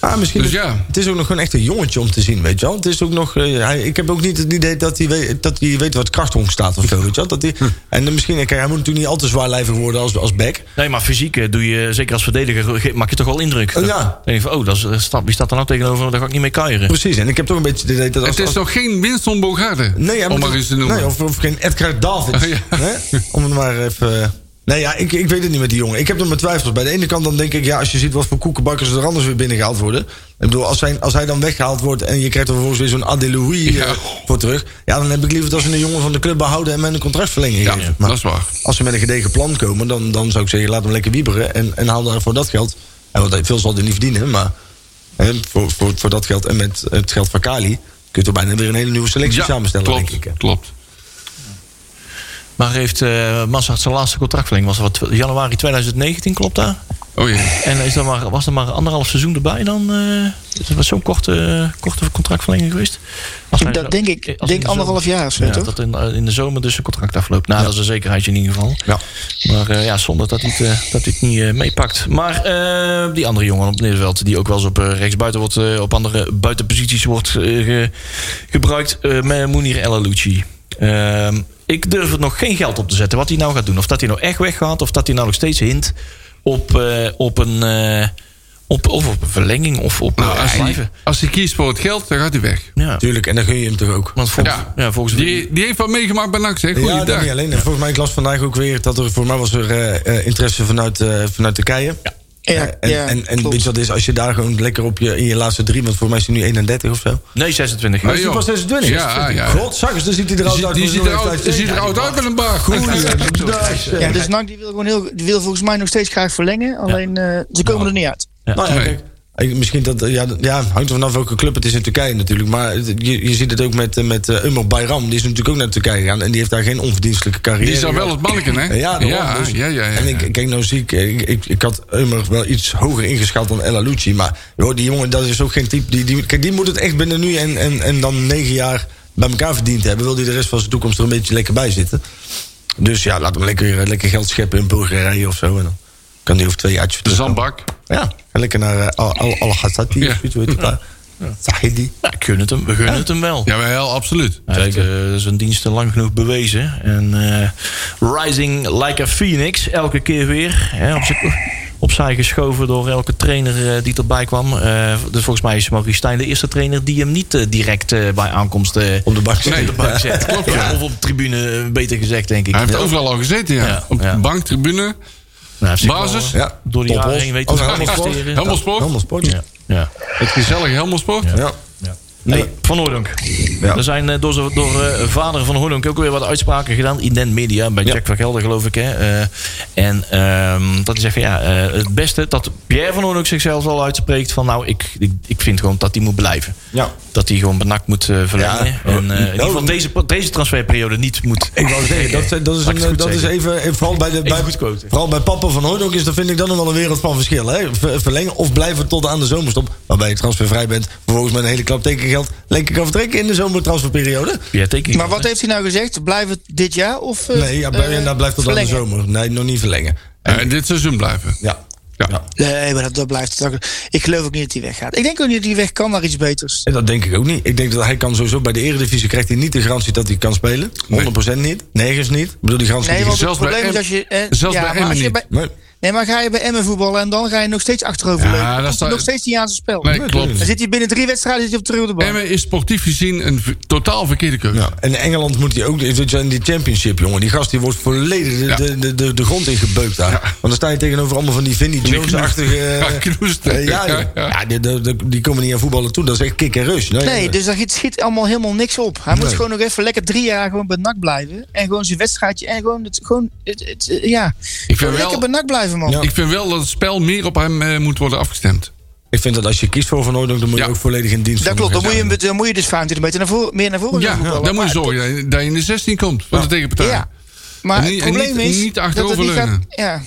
Ah, misschien
Dus
is-
ja.
Het is ook nog gewoon echt een jongetje om te zien, weet je wel. Het is ook nog, eh, hij, ik heb ook niet het idee dat hij weet, dat hij weet wat krachthonk staat of zo, weet je wel. Dat hij,
Hm.
en dan misschien, kijk, hij moet natuurlijk niet al te zwaarlijvig worden als, als back.
Nee, maar fysiek eh, doe je, zeker als verdediger, ge- maak je toch wel indruk.
Oh, ja.
Dan denk je van, oh, dat is, eh, staat- wie staat er nou tegenover? Daar ga ik niet mee kuieren.
Precies, en ik heb toch een beetje het idee dat als...
Het is
als-
nog geen Winston Bogarde,
nee, hij
om
moet-
maar eens te noemen.
Nee, of, of geen Edgar Davids.
Oh, ja.
hè? Om het maar even... eh, Nee, ja, ik, ik weet het niet met die jongen. Ik heb er mijn twijfels. Bij de ene kant dan denk ik, ja, als je ziet wat voor koekenbakkers er anders weer binnengehaald worden. Ik bedoel, als hij, als hij dan weggehaald wordt en je krijgt er vervolgens weer zo'n Adelouis eh, voor terug. Ja, dan heb ik liever dat ze een jongen van de club behouden en met een contractverlenging
Ja,
geven. Maar
dat is waar.
als ze met een gedegen plan komen, dan, dan zou ik zeggen, laat hem lekker wieberen en, en haal daarvoor dat geld. En wat hij- veel zal hij niet verdienen, maar hè, voor, voor, voor dat geld en met het geld van Kali kun je toch bijna weer een hele nieuwe selectie
Ja,
samenstellen,
klopt,
denk ik. hè.
klopt.
Maar heeft eh Massa zijn laatste contractverlenging was wat januari 2019, klopt dat?
Oh jee.
En is er maar, was er maar anderhalf seizoen erbij dan? eh is er was zo'n korte, eh, korte contractverlenging geweest? Als hij
Dat
zo-
denk ik.
als in de
Denk
zomer-
anderhalf jaar of zo,
ja,
toch?
Dat in, in de zomer dus een contract afloopt. Nou, dat is een zekerheidje in ieder geval.
Ja.
Maar eh, ja, zonder dat hij het, eh, dat hij het niet eh, meepakt. Maar eh, die andere jongen op Nederveld, die ook wel eens op rechts rechtsbuiten wordt, eh, op andere buitenposities wordt eh, ge- gebruikt, eh, met Mounir El Alouchi. Ehm, ik durf het nog geen geld op te zetten wat hij nou gaat doen. Of dat hij nou echt weggaat, of dat hij nou nog steeds hint op, eh, op een. eh, op, of op een verlenging of op
Nou,
eh,
als hij,
blijven.
als hij kiest voor het geld, dan gaat hij weg.
Ja,
Tuurlijk, en dan gun je hem toch ook.
want volgens,
Ja.
ja. volgens
Die, die heeft wat meegemaakt bij NAC, zeg.
ja, dat
Goeiedag.
niet alleen. En Volgens mij, ik las vandaag ook weer dat er voor mij was er eh, eh, interesse vanuit, eh, vanuit Turkije.
Ja,
Eh, en
ja,
en, en
klopt.
weet je wat is, als je daar gewoon lekker op je, in je laatste drie, want voor mij is hij nu 31 of zo.
Nee, 26.
Nee,
Ja,
joh.
was 26.
Ja, ja.
Godzakkers, dan ziet hij er oud
Die,
uit.
die
voor
ziet
zo'n
er oud,
leeftijd.
ziet er oud uit met een baard.
Goeiedag, zeg.
Ja, dus NAC die wil, gewoon heel, die wil volgens mij nog steeds graag verlengen. Alleen eh, ze komen er niet uit.
Nou ja,
Nee.
kijk, ik- Misschien dat, eh, ja, dat- ja, hangt er vanaf welke club het is in Turkije natuurlijk. Maar het- je, je ziet het ook met, eh, met eh, Umar Bayram. Die is natuurlijk ook naar Turkije gegaan. En die heeft daar geen onverdienstelijke carrière.
Die is dan wel
gehad.
het manneken, hè?
Ja, daarom,
ja,
dus-
ja, ja, ja.
En ik, kijk, nou zie ik, ik, ik, ik had Eumer wel iets hoger ingeschat dan El Alucci. Maar joh, die jongen, dat is ook geen type. Die, die, kijk, die moet het echt binnen nu en, en, en dan negen jaar bij elkaar verdiend hebben. Wil die de rest van zijn toekomst er een beetje lekker bij zitten. Dus ja, laat hem lekker, lekker geld scheppen in Bulgarije of zo. En dan kan die over twee jaar.
De zandbak.
Ja, ga lekker naar eh, Al- Al- Al-Ghassati
Ja.
of zoiets, weet ik wel. Sahidi.
Nou, ik gun het hem, we gunnen het hem wel.
Jawel, absoluut.
Hij heeft, eh, zijn diensten lang genoeg bewezen. En eh, rising like a phoenix, elke keer weer. Hè, op zijn- opzij geschoven door elke trainer eh, die erbij kwam. Eh, dus volgens mij is Maurice Stijn de eerste trainer die hem niet eh, direct eh, bij aankomst eh,
Om de bak te
Nee.
zitten.
op de bank zet.
Klopt, ja.
Of op de tribune, eh, beter gezegd, denk ik.
Hij heeft
Ja.
overal al gezeten, ja.
Ja,
Op de
ja.
bank, tribune.
Nou, hij heeft zich
Basis.
wel, eh,
Ja.
Door de
Top
jaren
los.
heen weten
Oh,
te
helemaal sport.
presteren.
Helemaal sport.
Helemaal sport. Ja.
Ja. ja.
Het gezellige helemaal sport.
Ja.
Nee, Van Hoornonk.
Ja.
Er zijn eh, door, z'n- door eh, vader van Hoornonk ook weer wat uitspraken gedaan. Ident Media, bij
Ja.
Jack van Gelder geloof ik. Hè. Eh, en ehm, dat hij zegt van ja, eh, het beste dat Pierre van Hoornonk zichzelf al uitspreekt. Van nou, ik, ik, ik vind gewoon dat hij moet blijven.
Ja.
Dat hij gewoon benakt moet eh, verlengen.
Ja.
En eh, in ieder geval
Nou,
deze, deze transferperiode niet moet.
Ik wou zeggen, dat, zijn- dat is,
Laat ik
een,
het goed
dat is
zeggen.
even, even- vooral bij de, bij,
goed quoten.
vooral bij papa van Hooydonk is, dat vind ik dan nog wel een wereld van verschil. Hè? Ver- verlengen of blijven tot aan de zomerstop, waarbij je transfervrij bent, vervolgens met een hele klap tekengeld, lekker kan vertrekken in de zomertransferperiode.
Pierre tekent.
Maar wat heeft hij nou gezegd? Blijft het dit jaar? Of, eh,
Nee, ja, bij-
eh,
en dat blijft tot aan de
verlengen?
zomer. Nee, nog niet verlengen.
En dit seizoen blijven.
Ja.
Ja.
Nee, maar dat, dat blijft het ook. Ik geloof ook niet dat hij weggaat. Ik denk ook niet dat hij weg kan naar iets beters.
En dat denk ik ook niet. Ik denk dat hij kan sowieso bij de eredivisie krijgt hij niet de garantie dat hij kan spelen. 100% niet. Nergens niet. Ik bedoel, die garantie
Nee,
die
want het
zelfs bij
probleem is
Em-
als je... eh,
zelfs bij
maar als
Emmen
je
niet.
bij-
Nee.
Nee, maar ga je bij Emmen voetballen en dan ga je nog steeds achterover
Ja,
leunen. Dan
dat
komt
zou-
hij nog steeds niet aan zijn spel.
Nee, klopt.
Dan zit hij binnen drie wedstrijden zit hij op de rode bank.
Emmen is sportief gezien een v- totaal verkeerde keuze.
Ja, en Engeland moet hij ook. weet je, In die championship, jongen. Die gast die wordt volledig de,
Ja.
de, de, de, de grond ingebeukt daar. Want dan sta je tegenover allemaal van die Vinnie Jones-achtige.
Ja,
eh,
knoest.
eh, ja,
Ja,
ja,
ja.
die, die- die- die komen niet aan voetballen toe. Dat is echt kick en rush. Nee,
Nee, dus daar schiet allemaal helemaal niks op. Hij moet
Nee.
gewoon nog even lekker drie jaar gewoon bij NAC blijven. En gewoon zijn wedstrijdje en gewoon... Het, gewoon het, het- eh, ja,
Ik vind
gewoon lekker
wel-
bij NAC blijven, man.
Ja.
Ik vind wel dat het spel meer op hem eh, moet worden afgestemd.
Ik vind dat als je kiest voor Van Hooydonk, dan moet
Ja.
je ook volledig in dienst
Dat
van
klopt, dan
hem
moet,
gaan.
je, dan moet je dus 25 meter naar voren, meer naar voren
Ja,
gaan voetballen.
dan moet je
Maar-
zorgen dat je- dat je in de 16 komt van de tegenpartij.
Ja, maar
En niet-
het probleem
en niet-
is...
niet
dat het
achteroverleunen.
gaat- ja.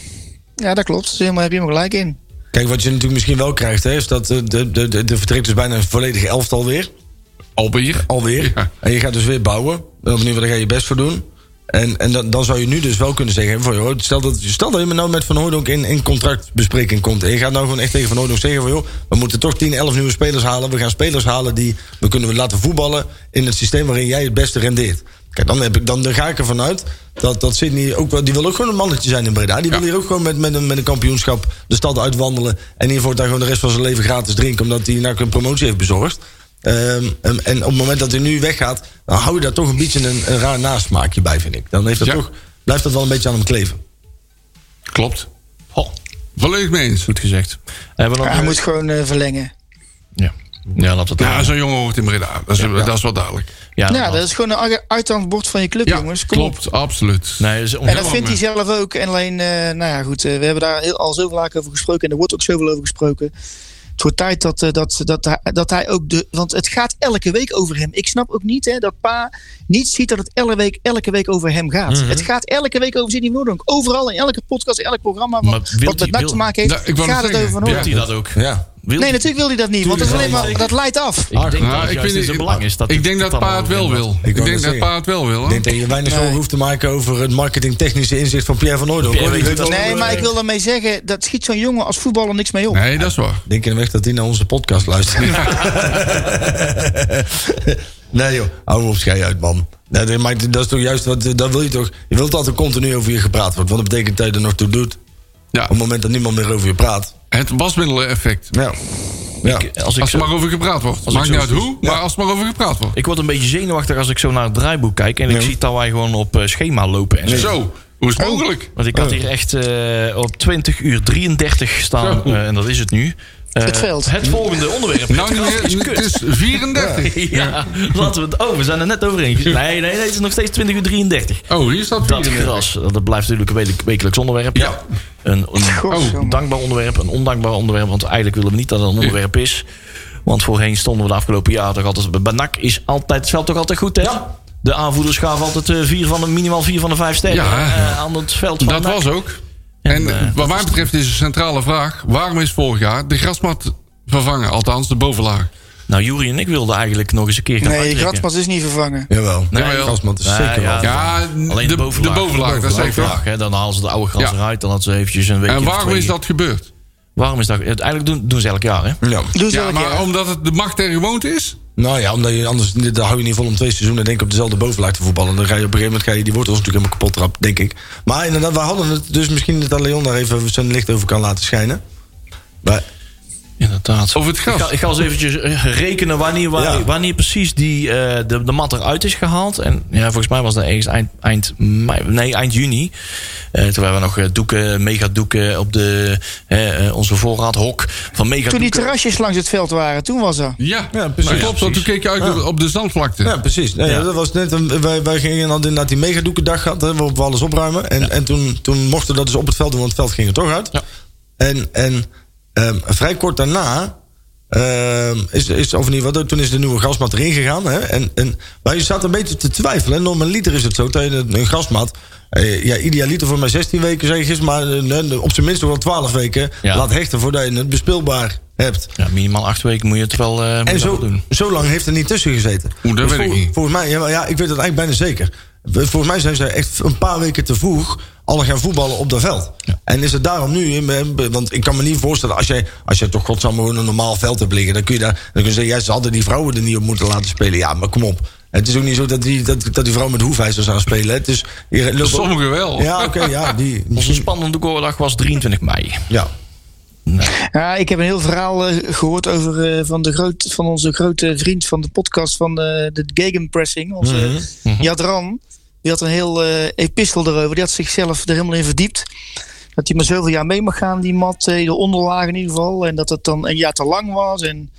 ja, dat klopt. Dus helemaal heb je hem gelijk in.
Kijk, wat je natuurlijk misschien wel krijgt, hè, is dat eh, de, de, de, de vertrekt dus bijna een volledige elftal weer.
Alweer.
Alweer.
Ja.
En je gaat dus weer bouwen. Of in ieder geval, daar ga je best voor doen. En, en dan, dan zou je nu dus wel kunnen zeggen... Van, joh, stel, dat, stel dat je nou met Van Hooydonk in, in contractbespreking komt... en je gaat nou gewoon echt tegen Van Hooydonk zeggen... van joh, we moeten toch 10, 11 nieuwe spelers halen. We gaan spelers halen die we kunnen laten voetballen... in het systeem waarin jij het beste rendeert. Kijk, dan, heb ik, dan, dan ga ik ervan uit dat, dat Sydney ook wel... die wil ook gewoon een mannetje zijn in Breda. Die
Ja.
wil hier ook gewoon met, met, een, met een kampioenschap de stad uitwandelen... en hiervoor daar gewoon de rest van zijn leven gratis drinken... omdat hij nou een promotie heeft bezorgd. Ehm, en, en op het moment dat hij nu weggaat, dan hou je daar toch een beetje een, een raar nasmaakje bij, vind ik. Dan heeft dat
Ja.
toch, blijft dat wel een beetje aan hem kleven.
Klopt.
Ho,
Volledig mee eens.
goed gezegd. Hebben we nog...
Hij moet gewoon eh, verlengen.
Ja, ja laat dat
Ja, zo'n jongen hoort in Breda. Dat is, dat is wel duidelijk.
Ja,
Ja,
dat-
dat is gewoon een uit- uithangbord van je club,
Ja,
jongens. Kom op.
klopt. Absoluut.
Nee, dat is
En
ongelooflijk.
dat vindt hij zelf ook. En alleen, eh, nou ja, goed. eh, we hebben daar heel, al zo vaak over gesproken. En er wordt ook zoveel over gesproken. Het wordt tijd dat, eh, dat, dat, hij- dat hij ook de. Want het gaat elke week over hem. Ik snap ook niet hè, dat Pa niet ziet dat het elke week, elke week over hem gaat.
Mhm.
Het gaat elke week over Sidney Moerdonk. Overal in elke podcast, in elk programma.
Maar
Wat,
wilt
wat
hij-
met NAC te
wil-
maken heeft,
Nou, ik wou
gaat
net
het over
zeggen, ja.
Van
Wil hij dat ook?
Ja.
Wil
Nee,
hij-
natuurlijk wil hij dat niet. Want dat, is alleen maar, dat leidt af.
Ik denk
Nou,
dat
ik
juist in
vind-
zijn belang is. Dat
ik
het-
denk dat
dat
Pa het wel
allemaal-
wil.
wou
Ik
net
denk dat
zeggen.
Pa het wel wil.
Ik
hoor.
denk dat je weinig
Nee.
zorgen hoeft te maken over het marketingtechnische inzicht van Pierre van Hooydonk.
Pierre
hoor. Die
weet
weet
het
wel-
al.
Nee, maar ik wil daarmee zeggen, dat schiet zo'n jongen als voetballer niks mee op.
Nee, dat is waar.
Denk in de weg dat hij naar onze podcast luistert. nee joh, hou me op schei uit man. Nee, nee, maar dat is toch juist wat, eh, dat wil je toch... Je wilt altijd continu over je gepraat wordt, want dat betekent dat je er nog toe doet.
Ja,
Op het moment dat niemand meer over je praat.
het wasmiddeleneffect.
Ja. ja.
Ik- eh, Als ik
Als
zo-
er maar over gepraat wordt. Maakt
ik
niet
zo
uit
zie-
hoe, maar als er maar over gepraat wordt.
Ik word een beetje zenuwachtig als ik zo naar het draaiboek kijk. En ik
Ja.
zie dat wij gewoon op eh, schema lopen. En zo.
Zo, hoe is het mogelijk?
Want ik had hier echt eh, op 20 uur 33 staan.
Zo.
eh, en dat is het nu. Eh,
Het veld.
Het volgende onderwerp.
Nou,
Het veld
niet meer, het is 34.
Ja, laten we het. Oh, we zijn er net overheen. Nee, nee, nee, het is nog steeds 20 uur 33.
Oh, hier staat
Dat
34.
gras, dat blijft natuurlijk een wekel- wekelijks onderwerp.
Ja.
Een, een
Godzonde.
dankbaar onderwerp, een ondankbaar onderwerp. Want eigenlijk willen we niet dat het een onderwerp is. Want voorheen stonden we de afgelopen jaren toch altijd... Bij NAC is altijd, het veld toch altijd goed, hè? De aanvoerders gaven altijd eh, vier van de, minimaal vier van de vijf sterren
Ja.
eh, aan het veld van
Dat
NAC.
was ook.
En,
En
eh,
wat mij betreft is de centrale vraag... waarom is vorig jaar de grasmat vervangen? Althans, de bovenlaag.
Nou, Juri en ik wilden eigenlijk nog eens een keer gaan
Nee,
uittrekken.
Gratmas is niet vervangen.
Jawel.
Nee,
jawel.
Gastman is
Nee,
zeker
ja.
wel.
Ja,
Alleen de, bovenlaag.
De bovenlaag, dat is zeker.
Bovenlaag, hè, Dan halen ze de oude gras
Ja.
eruit. Dan had ze eventjes een weekje
En
of
waarom
twee-
is dat gebeurd?
Waarom is dat? Eigenlijk doen, doen ze elk jaar, hè?
Ja.
Doe ze
Ja,
elk
maar
jaar.
omdat het de macht en gewoonte is?
Nou ja, omdat je anders, dan hou je niet vol om twee seizoenen denk ik op dezelfde bovenlaag te voetballen. Dan ga je op een gegeven moment ga je die wortels natuurlijk helemaal kapot trappen, denk ik. Maar inderdaad, we hadden het dus misschien dat Leon daar even zijn licht over kan laten schijnen. Maar
Inderdaad.
Over het
Ik ga,
gras?
ik ga eens eventjes eh, rekenen wanneer, wa-
Ja.
wanneer precies die, eh, de, de mat eruit is gehaald. En ja, volgens mij was dat ergens eind, eind, mei- nee, eind juni. Eh, toen hebben we nog eh, doeken, megadoeken op de, eh, eh, onze voorraadhok van
Toen die
megadoeken.
terrasjes langs het veld waren, toen was dat.
Ja,
Ja, precies.
precies.
Ja,
klopt. Want
precies.
toen keek je uit op- op de zandvlakte.
ja, precies. Nee,
Ja.
Dat was net een, wij, wij gingen hadden inderdaad die megadoekendag gehad, hè, waarop we alles opruimen. En, en toen, toen mochten we dat dus op het veld doen, want het veld ging er toch uit.
Ja.
En, en ehm, vrij kort daarna ehm, is, is of niet, wat, toen is de nieuwe grasmat erin gegaan. Hè? En, en, maar je staat een beetje te twijfelen. Hè? Normaliter is het zo dat je een- een grasmat. eh, ja, idealiter voor mij 16 weken zeg ik eens, maar eh, nee, op zijn minst nog wel 12 weken
Ja.
laat hechten voordat je het bespeelbaar hebt.
Ja, minimaal acht weken moet je het wel, eh, moet je
En
dat
zo,
wel doen.
zo lang heeft er niet tussen gezeten. Dus
Oeh, dat weet ik
vol-
niet.
Volgens mij, ja, maar ja, ik weet het eigenlijk bijna zeker. We- Volgens mij zijn ze echt een paar weken te vroeg alle gaan voetballen op dat veld. En is het daarom nu, in- in- want ik kan me niet voorstellen, als jij, als jij toch godsamme gewoon een normaal veld hebt liggen, dan kun je daar, dan kun je zeggen, ja, ze hadden die vrouwen er niet op moeten laten spelen. Ja, maar kom op. Het is ook niet zo dat die, dat, dat die vrouw met hoefijzers aan spelen. hè. Het is, je loopt ook-
Sommigen wel.
Ja, oké, ja, die.
Onze spannende koordag was 23 mei.
Ja.
Ja, ik heb een heel verhaal eh, gehoord over eh, van, de groot, van onze grote vriend van de podcast van eh, de Gegenpressing, onze Jadran. Die had een heel eh, epistel erover. Die had zichzelf er helemaal in verdiept. Dat hij maar zoveel jaar mee mag gaan, die mat, eh, de onderlagen in ieder geval. En dat het dan een jaar te lang was. En